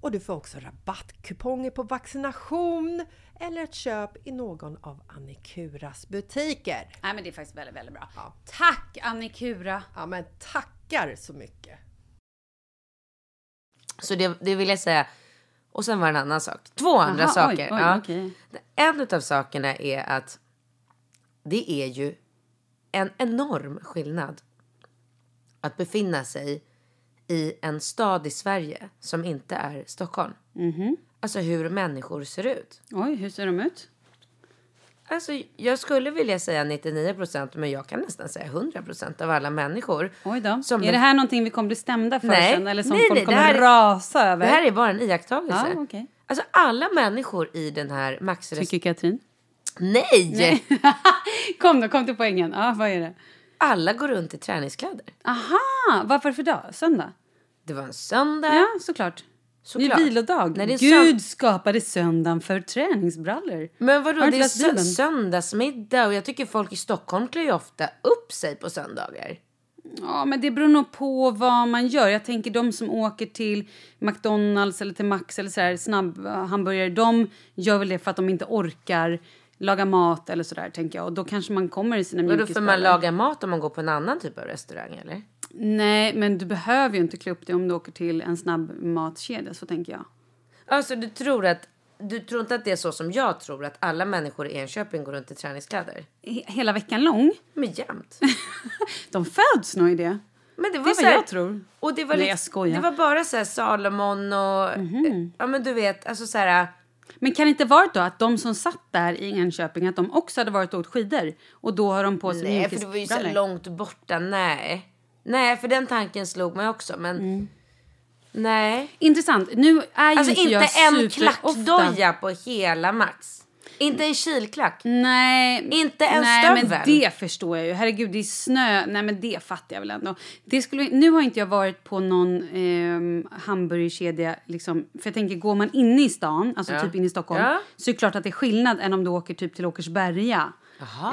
[SPEAKER 2] och du får också rabattkuponger på vaccination eller ett köp i någon av Annikuras butiker.
[SPEAKER 1] Nej men det är faktiskt väldigt, väldigt bra. Tack Annikura!
[SPEAKER 2] Ja men tackar så mycket!
[SPEAKER 3] Så det, det vill jag säga. Och sen var det en annan sak. Två andra
[SPEAKER 1] Aha,
[SPEAKER 3] saker.
[SPEAKER 1] oj, oj,
[SPEAKER 3] ja.
[SPEAKER 1] okej.
[SPEAKER 3] En av sakerna är att det är ju en enorm skillnad att befinna sig i en stad i Sverige som inte är Stockholm.
[SPEAKER 1] Mhm.
[SPEAKER 3] Alltså hur människor ser ut.
[SPEAKER 1] Oj, hur ser de ut?
[SPEAKER 3] Alltså, jag skulle vilja säga 99 procent, men jag kan nästan säga 100 procent av alla människor.
[SPEAKER 1] Oj då.
[SPEAKER 3] som
[SPEAKER 1] är det här någonting vi kommer bli stämda för
[SPEAKER 3] Nej.
[SPEAKER 1] sen? Eller som
[SPEAKER 3] Nej,
[SPEAKER 1] folk
[SPEAKER 3] nej, det
[SPEAKER 1] kommer
[SPEAKER 3] här är-
[SPEAKER 1] rasa över?
[SPEAKER 3] Det här är bara en iakttagelse.
[SPEAKER 1] Ja, okej.
[SPEAKER 3] Alltså alla människor i den här maxrestaurangen...
[SPEAKER 1] Tycker Katrin.
[SPEAKER 3] Nej!
[SPEAKER 1] kom då, kom till poängen. Ja, vad är det?
[SPEAKER 3] Alla går runt i träningskläder.
[SPEAKER 1] Aha, vad var det för dag? Söndag?
[SPEAKER 3] Det var en söndag.
[SPEAKER 1] Ja, såklart. Det
[SPEAKER 3] Såklart.
[SPEAKER 1] är vilodag.
[SPEAKER 3] Nej, det är en
[SPEAKER 1] Gud
[SPEAKER 3] sön-
[SPEAKER 1] skapade söndagen för träningsbrallor.
[SPEAKER 3] Men vadå,
[SPEAKER 1] Har du inte
[SPEAKER 3] det är
[SPEAKER 1] läst
[SPEAKER 3] sö-
[SPEAKER 1] Bibeln?
[SPEAKER 3] söndagsmiddag och jag tycker folk i Stockholm klär ju ofta upp sig på söndagar.
[SPEAKER 1] Ja, men det beror nog på vad man gör. Jag tänker de som åker till McDonalds eller till Max eller så här, snabbhamburgare, de gör väl det för att de inte orkar laga mat eller sådär tänker jag. Och då kanske man kommer i sina
[SPEAKER 3] Och då får
[SPEAKER 1] mjukisbrallor.
[SPEAKER 3] man laga mat om man går på en annan typ av restaurang eller?
[SPEAKER 1] Nej, men du behöver ju inte klä upp dig om du åker till en snabbmatskedja, så tänker jag.
[SPEAKER 3] Alltså du tror att, du tror inte att det är så som jag tror att alla människor i Enköping går runt i träningskläder?
[SPEAKER 1] He- Hela veckan lång.
[SPEAKER 3] Men jämt.
[SPEAKER 1] De föds nog i det.
[SPEAKER 3] Men det var
[SPEAKER 1] Det är
[SPEAKER 3] så
[SPEAKER 1] vad
[SPEAKER 3] här-
[SPEAKER 1] jag tror.
[SPEAKER 3] Och det var,
[SPEAKER 1] Nej,
[SPEAKER 3] liksom-
[SPEAKER 1] jag skojar. Mhm.
[SPEAKER 3] det var bara så här Salomon och, ja men du vet, alltså så här.
[SPEAKER 1] Men kan det inte varit då att de som satt där i Enköping, att de också hade varit och åkt skidor? Och då har de på sig
[SPEAKER 3] Nej, för det var ju så
[SPEAKER 1] mjukisbrallor.
[SPEAKER 3] långt borta. Nej. Nej, för den tanken slog mig också. Men nej.
[SPEAKER 1] Intressant. Nu är ju
[SPEAKER 3] Alltså
[SPEAKER 1] inte,
[SPEAKER 3] inte
[SPEAKER 1] Mm. jag
[SPEAKER 3] en
[SPEAKER 1] superofta-
[SPEAKER 3] klackdoja på hela Max. Inte en kilklack.
[SPEAKER 1] Nej,
[SPEAKER 3] Inte en
[SPEAKER 1] nej, men
[SPEAKER 3] stövel.
[SPEAKER 1] det förstår jag ju. Herregud, det är snö. Nej, men det fattar jag väl ändå. Det skulle, nu har inte jag varit på någon ehm, hamburgerkedja. Liksom, för jag tänker, går man inne i stan, alltså typ in i Stockholm,
[SPEAKER 3] Ja.
[SPEAKER 1] så är det klart att det är skillnad än om du åker typ till Åkersberga.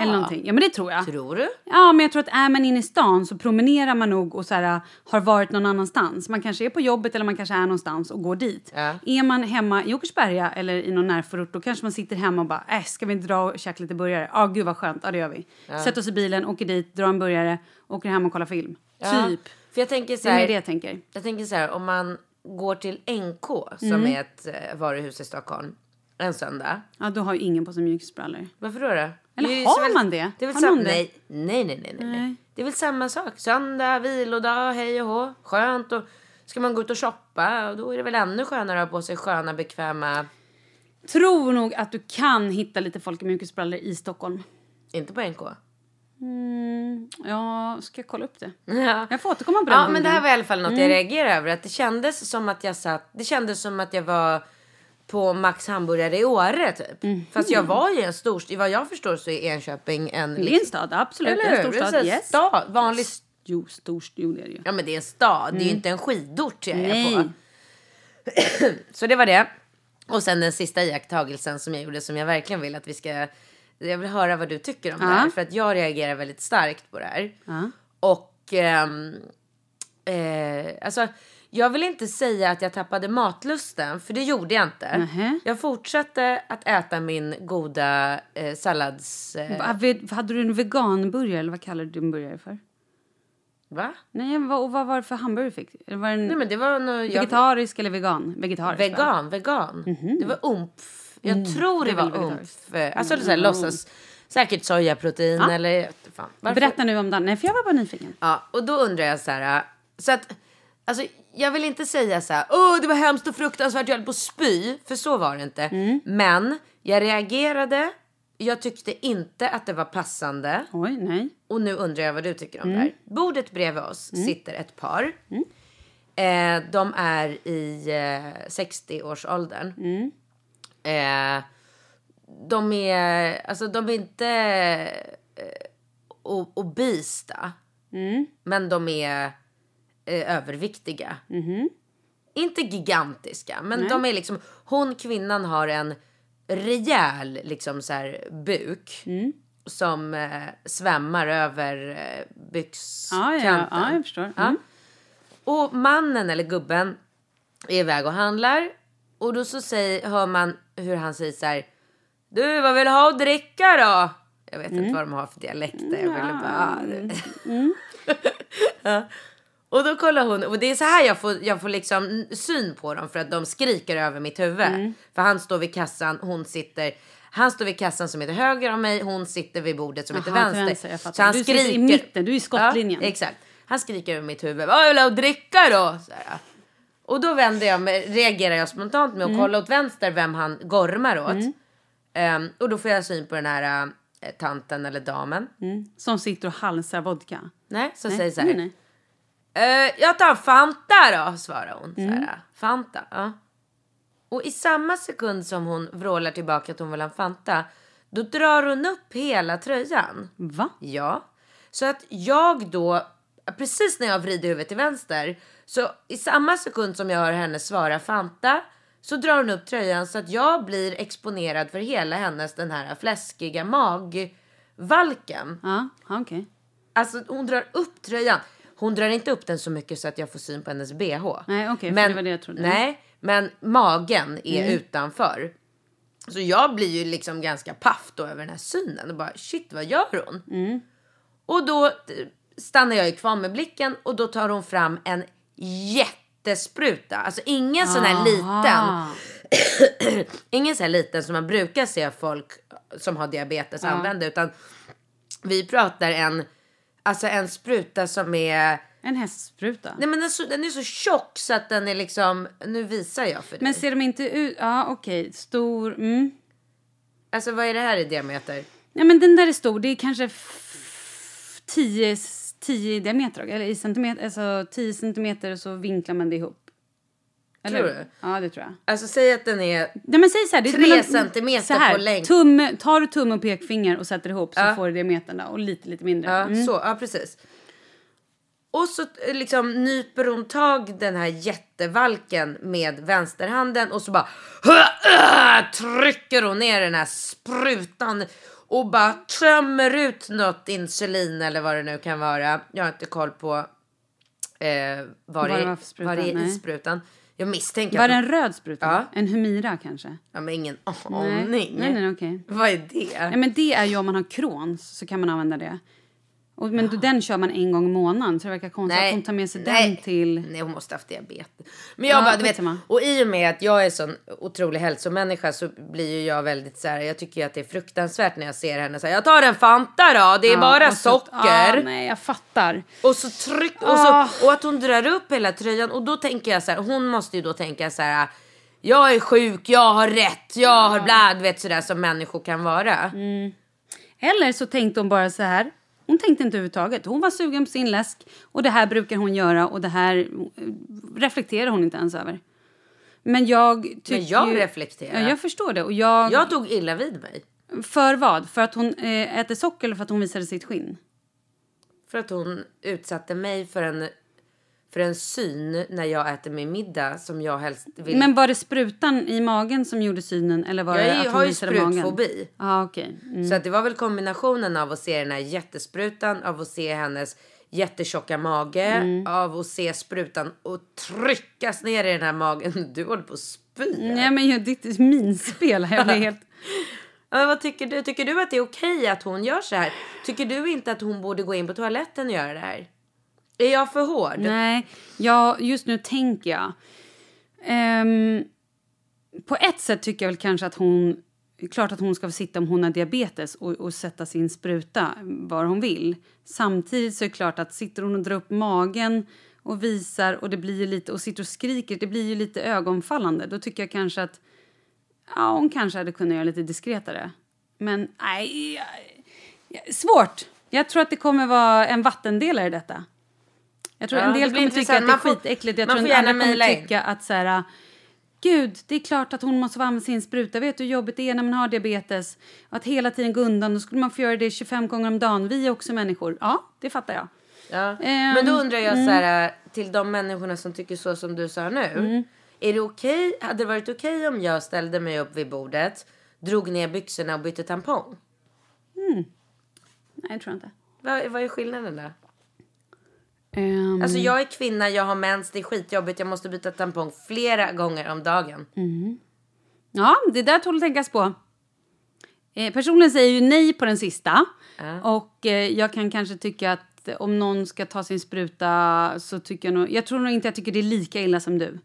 [SPEAKER 1] Eller någonting. Ja, men det tror jag.
[SPEAKER 3] Tror du?
[SPEAKER 1] Ja, men jag tror att är man inne i stan så promenerar man nog och så här, har varit någon annanstans. Man kanske är på jobbet eller man kanske är någonstans och går dit.
[SPEAKER 3] Ja.
[SPEAKER 1] Är man hemma i Åkersberga eller i någon närförort då kanske man sitter hemma och bara äh, ska vi inte dra och käka lite burgare? Ja, gud vad skönt. Ja, det gör vi. Sätter oss i bilen, åker dit, drar en burgare, åker hem och kollar film.
[SPEAKER 3] Ja.
[SPEAKER 1] Typ.
[SPEAKER 3] För jag tänker så
[SPEAKER 1] Det är mer
[SPEAKER 3] här.
[SPEAKER 1] det jag tänker.
[SPEAKER 3] Jag tänker så här, om man går till NK som
[SPEAKER 1] Mm.
[SPEAKER 3] är ett eh, varuhus i Stockholm en söndag.
[SPEAKER 1] Ja, då har ju ingen på sig mjukisbrallor.
[SPEAKER 3] Varför då? då?
[SPEAKER 1] Eller
[SPEAKER 3] Det är ju
[SPEAKER 1] har
[SPEAKER 3] så väl-
[SPEAKER 1] man det?
[SPEAKER 3] är väl
[SPEAKER 1] Har
[SPEAKER 3] sam-
[SPEAKER 1] någon det?
[SPEAKER 3] Nej, nej, nej, nej, nej.
[SPEAKER 1] Nej.
[SPEAKER 3] nej. Det är väl samma sak. Söndag, vilodag, hej och hå. Skönt. Och ska man gå ut och shoppa, och då är det väl ännu skönare att ha på sig sköna, bekväma...
[SPEAKER 1] Tror nog att du kan hitta lite folk i mjukisbrallor i Stockholm.
[SPEAKER 3] Inte på NK.
[SPEAKER 1] Mm, ja, ska jag kolla upp det?
[SPEAKER 3] Ja.
[SPEAKER 1] Jag får återkomma på den Mm.
[SPEAKER 3] Ja, men
[SPEAKER 1] punkten.
[SPEAKER 3] det här var i alla fall något jag reagerade över. Att det kändes som att jag satt... Det kändes som att jag var på Max hamburgare i Åre typ.
[SPEAKER 1] Mm.
[SPEAKER 3] Fast jag var ju i en stor... I vad jag förstår så är Enköping en...
[SPEAKER 1] Det är en stad, absolut.
[SPEAKER 3] Liksom.
[SPEAKER 1] Det
[SPEAKER 3] Eller
[SPEAKER 1] är en stor
[SPEAKER 3] hur? Det är
[SPEAKER 1] stad.
[SPEAKER 3] en
[SPEAKER 1] Yes.
[SPEAKER 3] stad, vanlig s-
[SPEAKER 1] Jo, stor, jo, det är det ju.
[SPEAKER 3] Ja men det är en stad, det är ju inte en skidort jag är
[SPEAKER 1] Nej.
[SPEAKER 3] på. Så det var det. Och sen den sista iakttagelsen som jag gjorde som jag verkligen vill att vi ska... Jag vill höra vad du tycker om det här. För att jag reagerar väldigt starkt på det här. Och... ehm, eh, alltså, jag vill inte säga att jag tappade matlusten, för det gjorde jag inte.
[SPEAKER 1] Nähä.
[SPEAKER 3] Jag fortsatte att äta min goda eh, sallads... Eh,
[SPEAKER 1] Va- vet- Hade du en veganburgare eller vad kallar du din burgare för?
[SPEAKER 3] Va?
[SPEAKER 1] Nej, vad, och vad var det för hamburgare du fick? Eller Var det en
[SPEAKER 3] Nej men det var nog... jag-
[SPEAKER 1] vegetarisk eller vegan? Vegetarisk, va?
[SPEAKER 3] Vegan, vegan. Det var umpf. Jag tror det, var umpf. Alltså så här, låtsas. Säkert sojaprotein eller... jag vet inte Fan. Varför-
[SPEAKER 1] Berätta nu om den. Nej, för jag var bara nyfiken.
[SPEAKER 3] Ja, och då undrar jag så här... Så att, alltså, jag vill inte säga så här, åh det var hemskt och fruktansvärt, jag höll på att spy. För så var det inte. Men jag reagerade, jag tyckte inte att det var passande.
[SPEAKER 1] Oj, nej.
[SPEAKER 3] Och nu undrar jag vad du tycker om det här. Bordet bredvid oss sitter ett par. Eh, de är i eh, 60-årsåldern. Eh, de är, alltså de är inte eh, o- obesa. Men de är eh, överviktiga. Inte gigantiska, men de är liksom, hon kvinnan har en rejäl liksom så här buk. Som eh, svämmar över eh,
[SPEAKER 1] Ja,
[SPEAKER 3] byxkanten.
[SPEAKER 1] ja, ja, jag förstår.
[SPEAKER 3] Ja.
[SPEAKER 1] Mm.
[SPEAKER 3] Och mannen eller gubben är iväg och handlar. Och då så säger, hör man hur han säger så här. Du, vad vill du ha att dricka då? Jag vet
[SPEAKER 1] Mm.
[SPEAKER 3] inte vad de har för dialekter. Jag ville bara, ah, du vet. Ja. Och då kollar hon. Och det är så här jag får, jag får liksom syn på dem. För att de skriker över mitt huvud.
[SPEAKER 1] Mm.
[SPEAKER 3] För han står vid kassan, hon sitter. Han står vid kassan som är till höger om mig. Hon sitter vid bordet som är till
[SPEAKER 1] Aha, till
[SPEAKER 3] vänster.
[SPEAKER 1] vänster, jag fattar.
[SPEAKER 3] så han
[SPEAKER 1] Du sitter i
[SPEAKER 3] skriker.
[SPEAKER 1] mitten, du är i skottlinjen.
[SPEAKER 3] Ja, exakt. Han skriker över mitt huvud. Vad vill du ha att dricka då? Så här. Och då vänder jag mig, reagerar jag spontant
[SPEAKER 1] Mm.
[SPEAKER 3] med att kolla åt vänster vem han gormar åt. Ehm, och då får jag syn på den här eh, tanten eller damen.
[SPEAKER 1] Som sitter och halsar vodka.
[SPEAKER 3] Nej, som
[SPEAKER 1] Mm. Nej,
[SPEAKER 3] säger så här.
[SPEAKER 1] nej, nej.
[SPEAKER 3] Eh, jag tar Fanta då, svarar hon.
[SPEAKER 1] Mm.
[SPEAKER 3] Så här, Fanta, ja. Och i samma sekund som hon vrålar tillbaka att hon vill ha en Fanta, då drar hon upp hela tröjan.
[SPEAKER 1] Va?
[SPEAKER 3] Ja. Så att jag då, precis när jag vrider huvudet till vänster, så i samma sekund som jag hör henne svara Fanta, så drar hon upp tröjan så att jag blir exponerad för hela hennes den här fläskiga magvalken.
[SPEAKER 1] Ja, ja, okej.
[SPEAKER 3] Alltså hon drar upp tröjan. Hon drar inte upp den så mycket så att jag får syn på hennes bh.
[SPEAKER 1] Nej, okej, för det var det jag trodde. Mm.
[SPEAKER 3] Nej, men magen är utanför. Så jag blir ju liksom ganska paff då över den här synen och bara shit vad gör hon?
[SPEAKER 1] Mm.
[SPEAKER 3] Och då eh, stannar jag ju kvar med blicken och då tar hon fram en jättespruta. Alltså ingen sån här liten.
[SPEAKER 1] Aha.
[SPEAKER 3] Ingen sån här liten som man brukar se folk som har diabetes använda utan vi pratar en, alltså en spruta som är
[SPEAKER 1] En hästspruta.
[SPEAKER 3] Nej men den är, så, den är så tjock så att den är liksom, nu visar jag för dig.
[SPEAKER 1] Men ser de inte ut... Ja, okej. Stor... Mm.
[SPEAKER 3] Alltså vad är det här i diameter?
[SPEAKER 1] Ja, men den där är stor. Det är kanske f- 10 10 i diameter, eller i centimeter, alltså 10 centimeter och så vinklar man det ihop.
[SPEAKER 3] Tror
[SPEAKER 1] hur?
[SPEAKER 3] du?
[SPEAKER 1] Ja, det tror jag.
[SPEAKER 3] Alltså säg att den är,
[SPEAKER 1] Nej, men säg så här, det är
[SPEAKER 3] Tre centimeter
[SPEAKER 1] så här,
[SPEAKER 3] på längd.
[SPEAKER 1] Tumme, tar du tumme och pekfinger och sätter ihop så får du diametern där och lite, lite mindre.
[SPEAKER 3] ja
[SPEAKER 1] Mm.
[SPEAKER 3] så, ja precis. Och så eh, liksom nyper hon tag den här jättevalken med vänsterhanden och så bara trycker hon ner den här sprutan och bara tömmer ut något insulin eller vad det nu kan vara. Jag har inte koll på eh, vad
[SPEAKER 1] det
[SPEAKER 3] det
[SPEAKER 1] var
[SPEAKER 3] är
[SPEAKER 1] för spruta,
[SPEAKER 3] vad det är i
[SPEAKER 1] nej.
[SPEAKER 3] sprutan. Jag misstänker
[SPEAKER 1] Var
[SPEAKER 3] att
[SPEAKER 1] det
[SPEAKER 3] hon
[SPEAKER 1] en röd spruta?
[SPEAKER 3] Ja.
[SPEAKER 1] En humira kanske?
[SPEAKER 3] Ja, men ingen
[SPEAKER 1] Nej,
[SPEAKER 3] aning.
[SPEAKER 1] nej, nej okej.
[SPEAKER 3] Vad är det?
[SPEAKER 1] Nej, men det är ju om man har Crohns så kan man använda det. Och, men då, den kör man en gång i månaden så det verkar konstigt att hon tar med sig
[SPEAKER 3] nej.
[SPEAKER 1] den till...
[SPEAKER 3] Nej, hon måste haft diabetes. Men jag
[SPEAKER 1] Ja,
[SPEAKER 3] bara, du vet,
[SPEAKER 1] skitsamma.
[SPEAKER 3] och i och med att jag är sån otrolig hälsomänniska så blir ju jag väldigt så här, jag tycker ju att det är fruktansvärt när jag ser henne så här, jag tar en Fanta då, det är bara
[SPEAKER 1] och så-
[SPEAKER 3] socker.
[SPEAKER 1] Ja, nej, Ah. jag fattar.
[SPEAKER 3] Och så tryck och, så, och att hon drar upp hela tröjan och då tänker jag så här, hon måste ju då tänka så här. Jag är sjuk, jag har rätt, jag har bla, du vet sådär som människor kan vara.
[SPEAKER 1] Mm. Eller så tänkte hon bara så här. Hon tänkte inte överhuvudtaget. Hon var sugen på sin läsk och det här brukar hon göra och det här eh, reflekterar hon inte ens över. Men jag tycker
[SPEAKER 3] Men jag
[SPEAKER 1] ju-
[SPEAKER 3] reflekterar.
[SPEAKER 1] Ja, jag förstår det. Och jag,
[SPEAKER 3] Jag tog illa vid mig.
[SPEAKER 1] För vad? För att hon eh, äter socker eller för att hon visade sitt skinn?
[SPEAKER 3] För att hon utsatte mig för en, för en syn när jag äter min middag som jag helst vill.
[SPEAKER 1] Men var det sprutan i magen som gjorde synen eller var
[SPEAKER 3] jag
[SPEAKER 1] det
[SPEAKER 3] är,
[SPEAKER 1] att
[SPEAKER 3] har
[SPEAKER 1] hon
[SPEAKER 3] ju
[SPEAKER 1] visade magen?
[SPEAKER 3] sprutfobi.
[SPEAKER 1] Ja, okej. Mm.
[SPEAKER 3] Så att det var väl kombinationen av att se den här jättesprutan, av att se hennes jättetjocka mage, av att se sprutan och tryckas ner i den här magen. Du håller på att spy.
[SPEAKER 1] Nej, men ju, ditt minspel. här, Jag blir helt...
[SPEAKER 3] Ja, vad tycker du? Tycker du att det är okej att hon gör så här? Tycker du inte att hon borde gå in på toaletten och göra det här? Är jag för hård?
[SPEAKER 1] Nej, jag, just nu tänker jag... Ehm, på ett sätt tycker jag väl kanske att hon... Klart att hon ska få sitta om hon har diabetes och, och sätta sin spruta var hon vill. Samtidigt så är det klart att sitter hon och drar upp magen och visar och det blir ju lite och sitter och skriker, det blir ju lite ögonfallande. Då tycker jag kanske att ja, hon kanske hade kunnat göra lite diskretare. Men nej, jag- jag- svårt. Jag tror att det kommer vara en vattendelare i detta. Jag tror
[SPEAKER 3] Ja,
[SPEAKER 1] en
[SPEAKER 3] det
[SPEAKER 1] del
[SPEAKER 3] blir
[SPEAKER 1] kommer tycka att
[SPEAKER 3] intressant.
[SPEAKER 1] det är
[SPEAKER 3] Man får-
[SPEAKER 1] skitäckligt. Jag
[SPEAKER 3] man
[SPEAKER 1] tror
[SPEAKER 3] får
[SPEAKER 1] att andra
[SPEAKER 3] gärna mejla
[SPEAKER 1] kommer
[SPEAKER 3] in.
[SPEAKER 1] tycka att så här, Gud, det är klart att hon måste få använda sin spruta. Vet du hur jobbigt det är när man har diabetes? Att hela tiden gå undan, då skulle man få göra det 25 gånger om dagen. Vi är också människor. Ja, det fattar jag.
[SPEAKER 3] Ja. Men
[SPEAKER 1] Ehm,
[SPEAKER 3] då undrar
[SPEAKER 1] mm.
[SPEAKER 3] jag så här, äh, till de människorna som tycker så som du sa nu.
[SPEAKER 1] Mm.
[SPEAKER 3] Är det okej, hade det varit okej om jag ställde mig upp vid bordet, drog ner byxorna och bytte tampong?
[SPEAKER 1] Nej, jag tror inte.
[SPEAKER 3] Vad, vad är skillnaden där?
[SPEAKER 1] Mm. Ehm,
[SPEAKER 3] Alltså jag är kvinna, jag har mens, det är skitjobbigt, jag måste byta tampong flera gånger om dagen.
[SPEAKER 1] Mm. Ja, det där tål att tänkas på. Eh, personligen säger ju nej på den sista. Och eh, jag kan kanske tycka att om någon ska ta sin spruta så tycker jag nog... Jag tror nog inte jag tycker det är lika illa som du.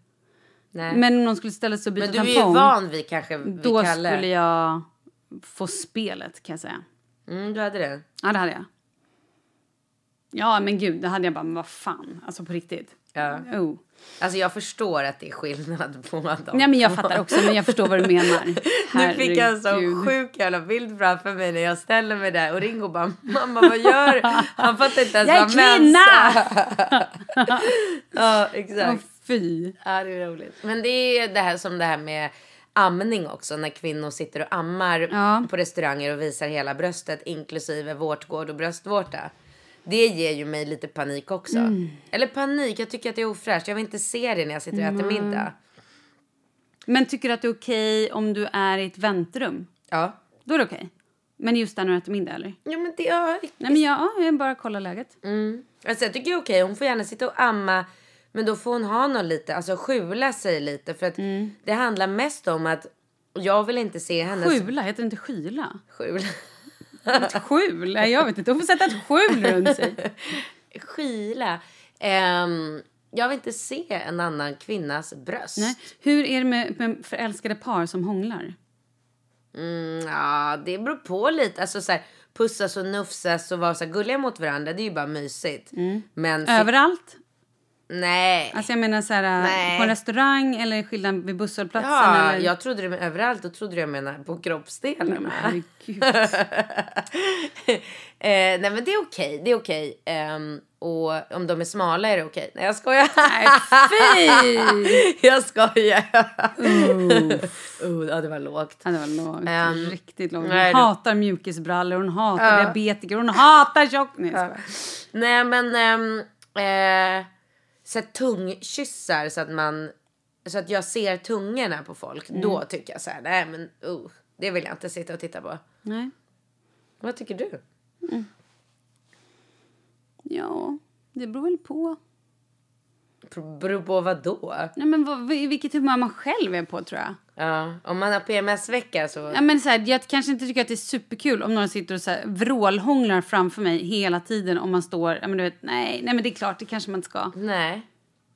[SPEAKER 3] Nej. Men,
[SPEAKER 1] Men om någon skulle ställa sig och byta
[SPEAKER 3] du
[SPEAKER 1] tampong.
[SPEAKER 3] är ju van vid kanske, vid
[SPEAKER 1] Då
[SPEAKER 3] Kalle.
[SPEAKER 1] skulle jag få spelet kan jag säga.
[SPEAKER 3] Mm, du hade det.
[SPEAKER 1] Ja, det hade jag. Ja, men gud, det hade jag bara, men vad fan, alltså på riktigt.
[SPEAKER 3] Ja.
[SPEAKER 1] Oh.
[SPEAKER 3] Alltså jag förstår att det är skillnad på dem.
[SPEAKER 1] Nej, men jag fattar också, men jag förstår vad du menar.
[SPEAKER 3] Nu fick jag en
[SPEAKER 1] Herregud.
[SPEAKER 3] sån sjuk jävla bild framför mig när jag ställer mig där och Ringo bara mamma vad gör du?" Han fattar inte ens
[SPEAKER 1] Jag är
[SPEAKER 3] vad mens
[SPEAKER 1] kvinna!
[SPEAKER 3] ja
[SPEAKER 1] Åh,
[SPEAKER 3] exakt.
[SPEAKER 1] fy.
[SPEAKER 3] Ja det är roligt. Men det är ju det här som det här med amning också när kvinnor sitter och ammar
[SPEAKER 1] Ja.
[SPEAKER 3] på restauranger och visar hela bröstet inklusive vårtgård och bröstvårta. Det ger ju mig lite panik också.
[SPEAKER 1] Mm.
[SPEAKER 3] Eller panik, jag tycker att det är ofräscht. Jag vill inte se det när jag sitter och äter middag.
[SPEAKER 1] Men tycker du att det är okej om du är i ett väntrum?
[SPEAKER 3] Ja.
[SPEAKER 1] Då är det okej. Men just där när du äter middag, eller?
[SPEAKER 3] Ja men det, ja,
[SPEAKER 1] Nej, men jag, ja, jag bara kollar läget.
[SPEAKER 3] Mm. Alltså jag tycker det är okej, hon får gärna sitta och amma. Men då får hon ha någon lite, alltså skjula sig lite. För att
[SPEAKER 1] Mm.
[SPEAKER 3] det handlar mest om att jag vill inte se hennes...
[SPEAKER 1] Skjula, heter det inte skyla?
[SPEAKER 3] Skjula.
[SPEAKER 1] Ett skjul? Nej, jag vet inte. Hon får sätta ett skjul runt sig.
[SPEAKER 3] Skila. Ehm, jag vill inte se en annan kvinnas bröst.
[SPEAKER 1] Nej. Hur är det med, med förälskade par som hånglar?
[SPEAKER 3] Mm, ja, det beror på lite. Alltså så här, pussas och nufsas och vara så här gulliga mot varandra. Det är ju bara mysigt. Men...
[SPEAKER 1] Mm. Överallt?
[SPEAKER 3] Nej.
[SPEAKER 1] Alltså jag menar så här,
[SPEAKER 3] Nej.
[SPEAKER 1] på en restaurang eller skillnad vid busshållplatsen?
[SPEAKER 3] Ja,
[SPEAKER 1] eller?
[SPEAKER 3] jag trodde det överallt. Då trodde jag menar på kroppsdelarna.
[SPEAKER 1] Men herregud.
[SPEAKER 3] eh, nej men det är okej, det är okej. Ehm, och om de är smala är det okej. Nej jag skojar.
[SPEAKER 1] Nej, fy!
[SPEAKER 3] jag skojar. Uh, ja det var lågt.
[SPEAKER 1] Ja, det var lågt.
[SPEAKER 3] Ehm,
[SPEAKER 1] Riktigt lågt. Hon
[SPEAKER 3] nej, du-
[SPEAKER 1] hatar mjukisbrallor, hon hatar diabetiker, hon hatar tjock... Nej, jag skojar.
[SPEAKER 3] Nej men ehm, eh, så här, tungkyssar så att man så att jag ser tungorna på folk. Då
[SPEAKER 1] Mm.
[SPEAKER 3] tycker jag så här, nej men uh, det vill jag inte sitta och titta på.
[SPEAKER 1] nej.
[SPEAKER 3] Vad tycker du?
[SPEAKER 1] Ja, det beror väl på.
[SPEAKER 3] Pro- Beror på vad då?
[SPEAKER 1] Nej, men vad, vil- vilket humör man själv är på, tror jag.
[SPEAKER 3] Ja, om man har PMS-vecka så.
[SPEAKER 1] Ja, men så här, jag kanske inte tycker att det är superkul om någon sitter och så här, vrålhånglar framför mig hela tiden om man står... Ja, men du vet, nej, nej, men det är klart, det kanske man inte ska.
[SPEAKER 3] Nej,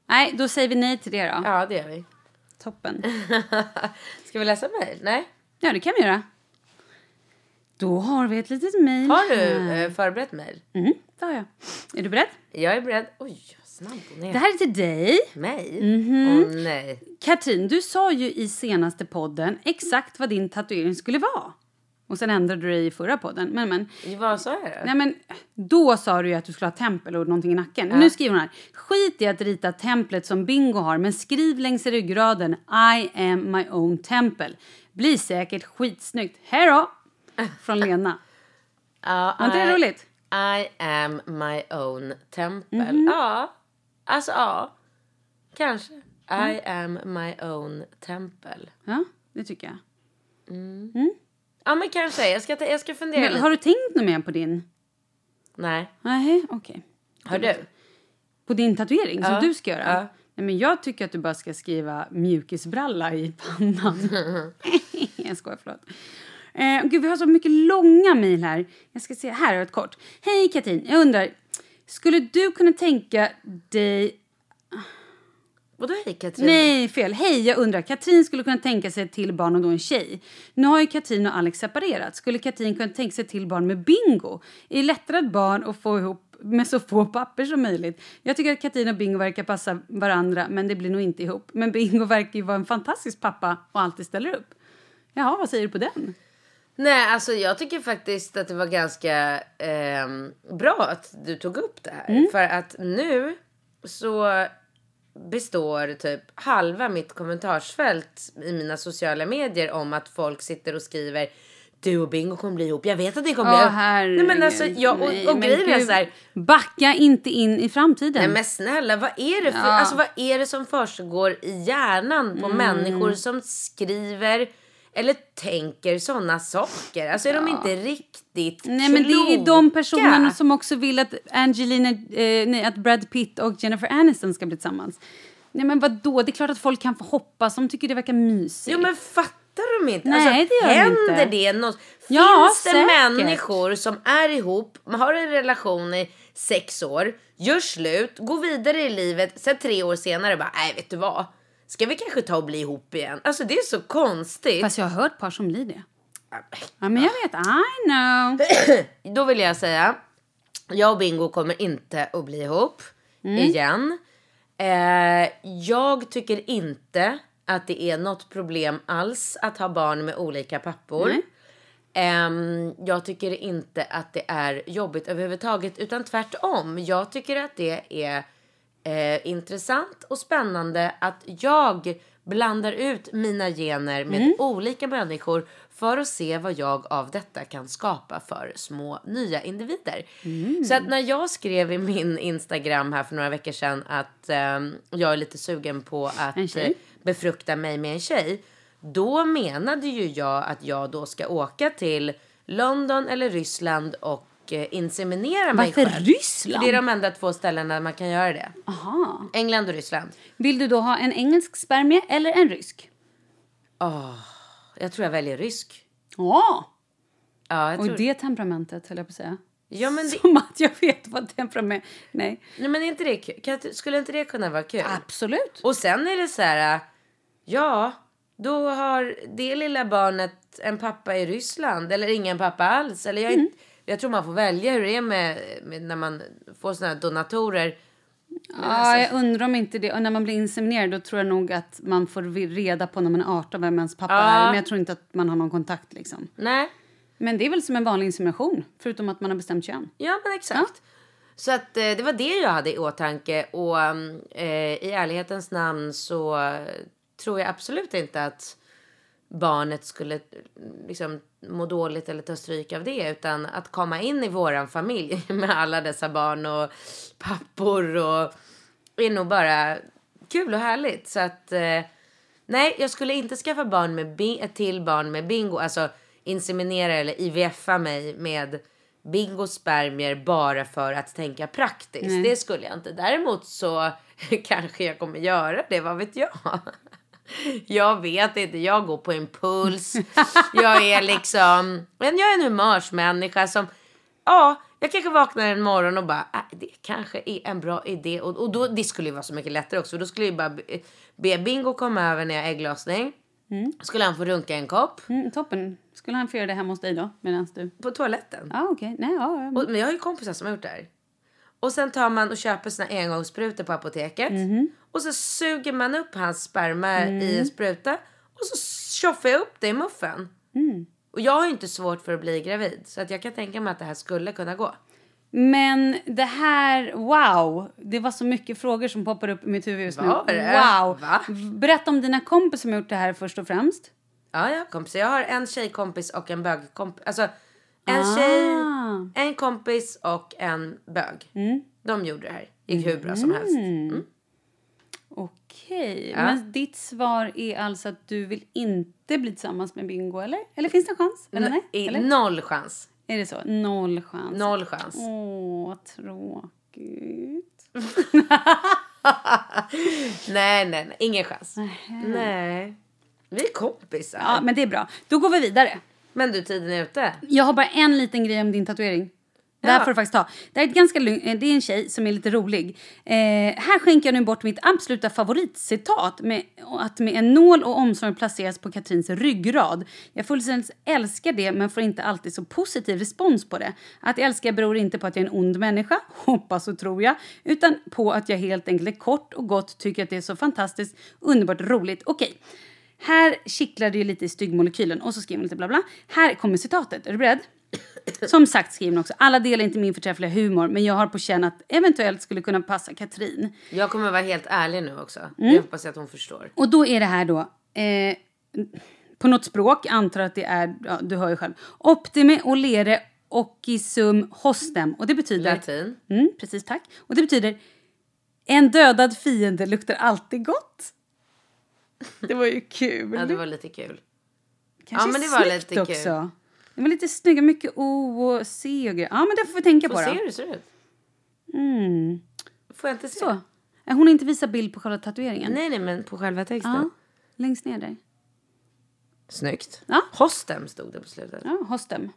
[SPEAKER 1] Nej, då säger vi nej till det då.
[SPEAKER 3] ja det gör vi.
[SPEAKER 1] Toppen.
[SPEAKER 3] Ska vi läsa mejl? Nej.
[SPEAKER 1] Ja, det kan vi göra. Då har vi ett litet mejl.
[SPEAKER 3] Har du
[SPEAKER 1] här.
[SPEAKER 3] eh, förberett mejl?
[SPEAKER 1] Mm, det har jag. Är du beredd?
[SPEAKER 3] Jag är beredd. Oj, vad snabb hon är.
[SPEAKER 1] Det här Mhm. är till dig.
[SPEAKER 3] Mig? Åh nej.
[SPEAKER 1] Katrin, du sa ju i senaste podden exakt vad din tatuering skulle vara. Och sen ändrade du dig i förra podden. Men, men,
[SPEAKER 3] Vad sa jag då?
[SPEAKER 1] nej, men, då sa du ju att du skulle ha tempel och någonting i nacken. Men Nu skriver hon här. Skit i att rita templet som Bingo har, men skriv längs ryggraden I am my own temple. Blir säkert skitsnyggt. Hej då! Från Lena.
[SPEAKER 3] Ja,
[SPEAKER 1] Var inte det
[SPEAKER 3] I-
[SPEAKER 1] roligt?
[SPEAKER 3] I am my own tempel.
[SPEAKER 1] Mhm.
[SPEAKER 3] Ja, alltså ja. Kanske. I am my own tempel.
[SPEAKER 1] Ja, det tycker jag.
[SPEAKER 3] Ja, men kanske. Jag ska, ta, jag ska fundera
[SPEAKER 1] Men,
[SPEAKER 3] lite.
[SPEAKER 1] har du tänkt något mer på din?
[SPEAKER 3] Nej.
[SPEAKER 1] Nej, okej.
[SPEAKER 3] Har du?
[SPEAKER 1] På din tatuering som du ska göra?
[SPEAKER 3] ja.
[SPEAKER 1] Nej, men jag tycker att du bara ska skriva mjukisbralla i pannan. jag skojar, förlåt. Eh, gud, vi har så mycket långa mejl här. Jag ska se, här har jag ett kort. Hej Katrin, jag undrar. Skulle du kunna tänka dig...
[SPEAKER 3] Vadå hej Katrin?
[SPEAKER 1] Nej, fel. Hej, jag undrar. Katrin skulle kunna tänka sig ett till barn och då en tjej. Nu har ju Katrin och Alex separerat. Skulle Katrin kunna tänka sig ett till barn med bingo? Är lättare ett barn att få ihop med så få papper som möjligt. Jag tycker att Katrin och Bingo verkar passa varandra, men det blir nog inte ihop. Men Bingo verkar ju vara en fantastisk pappa och alltid ställer upp. Jaha, vad säger du på den?
[SPEAKER 3] Nej, alltså jag tycker faktiskt att det var ganska ehm, bra att du tog upp det här.
[SPEAKER 1] Mm.
[SPEAKER 3] För att nu så består typ halva mitt kommentarsfält i mina sociala medier om att folk sitter och skriver du och Bingo kommer bli ihop. Jag vet att ni kommer bli
[SPEAKER 1] Ja,
[SPEAKER 3] ihop. Nej men alltså,
[SPEAKER 1] herregud.
[SPEAKER 3] jag, och,
[SPEAKER 1] Nej,
[SPEAKER 3] och
[SPEAKER 1] men
[SPEAKER 3] grejen är
[SPEAKER 1] gud.
[SPEAKER 3] så här.
[SPEAKER 1] Backa inte in i framtiden.
[SPEAKER 3] Nej men snälla, vad är det för... Alltså vad är det som försiggår i hjärnan
[SPEAKER 1] Mm.
[SPEAKER 3] på människor som skriver eller tänker sådana saker? Alltså är de inte riktigt
[SPEAKER 1] Nej, men det är ju de
[SPEAKER 3] kloka?
[SPEAKER 1] personerna som också vill att Angelina, eh, nej, att Brad Pitt och Jennifer Aniston ska bli tillsammans. Nej men vadå, det är klart att folk kan få hoppas, de tycker det verkar mysigt.
[SPEAKER 3] Jo men fattar de inte? Alltså,
[SPEAKER 1] Nej, det gör de
[SPEAKER 3] händer
[SPEAKER 1] inte.
[SPEAKER 3] det något?
[SPEAKER 1] Ja,
[SPEAKER 3] Finns det
[SPEAKER 1] säkert.
[SPEAKER 3] människor som är ihop, har en relation i sex år, gör slut, går vidare i livet, sen tre år senare bara, nej vet du vad? Ska vi kanske ta och bli ihop igen? Alltså det är så konstigt.
[SPEAKER 1] Fast jag har hört par som blir det. Ja men jag vet, I know.
[SPEAKER 3] Då vill jag säga, jag och Bingo kommer inte att bli ihop igen. Eh, jag tycker inte att det är något problem alls att ha barn med olika pappor. Ehm, jag tycker inte att det är jobbigt överhuvudtaget, utan tvärtom. Jag tycker att det är eh, intressant och spännande att jag blandar ut mina gener med
[SPEAKER 1] Mm.
[SPEAKER 3] olika människor för att se vad jag av detta kan skapa för små nya individer.
[SPEAKER 1] Mm.
[SPEAKER 3] Så att när jag skrev i min Instagram här för några veckor sedan att ehm, jag är lite sugen på att
[SPEAKER 1] En tjej?
[SPEAKER 3] eh, befrukta mig med en tjej. Då menade ju jag att jag då ska åka till London eller Ryssland och eh, inseminera mig
[SPEAKER 1] Varför
[SPEAKER 3] själv.
[SPEAKER 1] Ryssland?
[SPEAKER 3] För det är de enda två ställena man kan göra det.
[SPEAKER 1] Aha.
[SPEAKER 3] England och Ryssland.
[SPEAKER 1] Vill du då ha en engelsk spermie eller en rysk?
[SPEAKER 3] Jag tror jag väljer rysk.
[SPEAKER 1] Ja.
[SPEAKER 3] Ja, jag
[SPEAKER 1] Och
[SPEAKER 3] tror...
[SPEAKER 1] det temperamentet höll jag på att säga.
[SPEAKER 3] ja men, det...
[SPEAKER 1] Som att jag vet vad temperament... Nej.
[SPEAKER 3] Nej, men är inte det kul? Kan... Skulle inte det kunna vara kul?
[SPEAKER 1] Absolut.
[SPEAKER 3] Och sen är det så här, äh, ja, då har det lilla barnet en pappa i Ryssland eller ingen pappa alls. Eller jag, är inte- jag tror man får välja hur det är med, med när man får såna här donatorer.
[SPEAKER 1] Ja,
[SPEAKER 3] Alltså.
[SPEAKER 1] jag undrar om inte det. Och när man blir inseminerad då tror jag nog att man får vi- reda på när man är 18 vem ens pappa
[SPEAKER 3] Ja.
[SPEAKER 1] är. Men jag tror inte att man har någon kontakt liksom.
[SPEAKER 3] Nej,
[SPEAKER 1] Men det är väl som en vanlig insemination, förutom att man har bestämt kön.
[SPEAKER 3] ja men exakt. Så att eh, det var det jag hade i åtanke och mm, eh, i ärlighetens namn så eh, tror jag absolut inte att barnet skulle eh, liksom må dåligt eller ta stryk av det utan att komma in i våran familj med alla dessa barn och pappor och är nog bara kul och härligt så att eh, nej jag skulle inte skaffa barn med bi- ett till barn med bingo alltså inseminera eller IVFa mig med bingos spermier bara för att tänka praktiskt det skulle jag inte däremot så kanske jag kommer göra det vad vet jag jag vet inte, jag går på impuls. Jag är liksom, men jag är en humörsmänniska som, ja, jag kanske vaknar en morgon och bara, äh, det kanske är en bra idé. Och, och då, det skulle ju vara så mycket lättare också, då skulle jag ju bara be- be Bingo komma över när jag har ägglossning. Skulle han få runka en kopp
[SPEAKER 1] Mm, toppen. Skulle han få göra det hemma hos dig då? Medan du...
[SPEAKER 3] på toaletten.
[SPEAKER 1] Ja, okej. Nej, ja, ja.
[SPEAKER 3] Och, men jag har ju kompisar som har gjort det här. Och sen tar man och köper sina engångssprutor på apoteket. Och så suger man upp hans sperma i en spruta. Och så tjoffar jag upp det i muffen. Och jag har ju inte svårt för att bli gravid. Så att jag kan tänka mig att det här skulle kunna gå.
[SPEAKER 1] Men det här... Wow! Det var så mycket frågor som poppar upp i mitt huvud just
[SPEAKER 3] Var
[SPEAKER 1] nu.
[SPEAKER 3] det?
[SPEAKER 1] Wow!
[SPEAKER 3] Va?
[SPEAKER 1] Berätta om dina kompisar som har gjort det här först och främst.
[SPEAKER 3] Ja, ja kompisar. Jag har en tjejkompis och en bögkompis. Alltså en tjej, en kompis och en bög. De gjorde det här. Gick hur bra som helst.
[SPEAKER 1] Okej. Men ditt svar är alltså att du vill inte bli tillsammans med Bingo, eller? Eller finns det en chans? Eller nej?
[SPEAKER 3] I-
[SPEAKER 1] Eller?
[SPEAKER 3] Noll chans.
[SPEAKER 1] Är det så? Noll chans.
[SPEAKER 3] Noll chans.
[SPEAKER 1] Mm. Åh, vad tråkigt.
[SPEAKER 3] Nej, nej, nej. Ingen chans. Nej. Vi är kompisar.
[SPEAKER 1] Ja, men det är bra. Då går vi vidare.
[SPEAKER 3] Men du, tiden är ute.
[SPEAKER 1] Jag har bara en liten grej om din tatuering. Det här får du faktiskt ta. Det, här är ett ganska lugn, eh, det är en tjej som är lite rolig. Eh, här skänker jag nu bort mitt absoluta favoritcitat. Med, att med en nål och omsorg placeras på Katrins ryggrad. Jag fullständigt älskar det men får inte alltid så positiv respons på det. Att jag älskar beror inte på att jag är en ond människa, hoppas och tror jag. Utan på att jag helt enkelt är kort och gott tycker att det är så fantastiskt underbart roligt. Okej. Här kittlar det ju lite i styggmolekylen och så skriver hon lite bla bla. Här kommer citatet, är du beredd? Som sagt skriver hon också, alla delar inte min förträffliga humor men jag har på känn att eventuellt skulle kunna passa Katrin.
[SPEAKER 8] Jag kommer vara helt ärlig nu också.
[SPEAKER 1] Mm.
[SPEAKER 8] Jag hoppas att hon förstår.
[SPEAKER 1] Och då är det här då, eh, på något språk, antar att det är, ja, du hör ju själv. Optime olere ocisum hostem. Och det betyder...
[SPEAKER 8] Latin.
[SPEAKER 1] Mm, precis, tack. Och det betyder, en dödad fiende luktar alltid gott. Det var ju kul.
[SPEAKER 8] Ja, det var lite kul.
[SPEAKER 1] Kanske
[SPEAKER 8] Ja, men det var
[SPEAKER 1] snyggt
[SPEAKER 8] lite kul.
[SPEAKER 1] också. Det var lite snygga, mycket O och C och grejer. Ja, men det får vi tänka på
[SPEAKER 8] Får se
[SPEAKER 1] då.
[SPEAKER 8] hur det ser ut.
[SPEAKER 1] Mm.
[SPEAKER 8] Får jag inte se?
[SPEAKER 1] Så. Nej, Hon har inte visat bild på själva tatueringen.
[SPEAKER 8] Nej, nej, men på själva texten.
[SPEAKER 1] Ja, längst ner där.
[SPEAKER 8] Snyggt.
[SPEAKER 1] Ja.
[SPEAKER 8] Hostem stod det på slutet.
[SPEAKER 1] Ja, hos dem.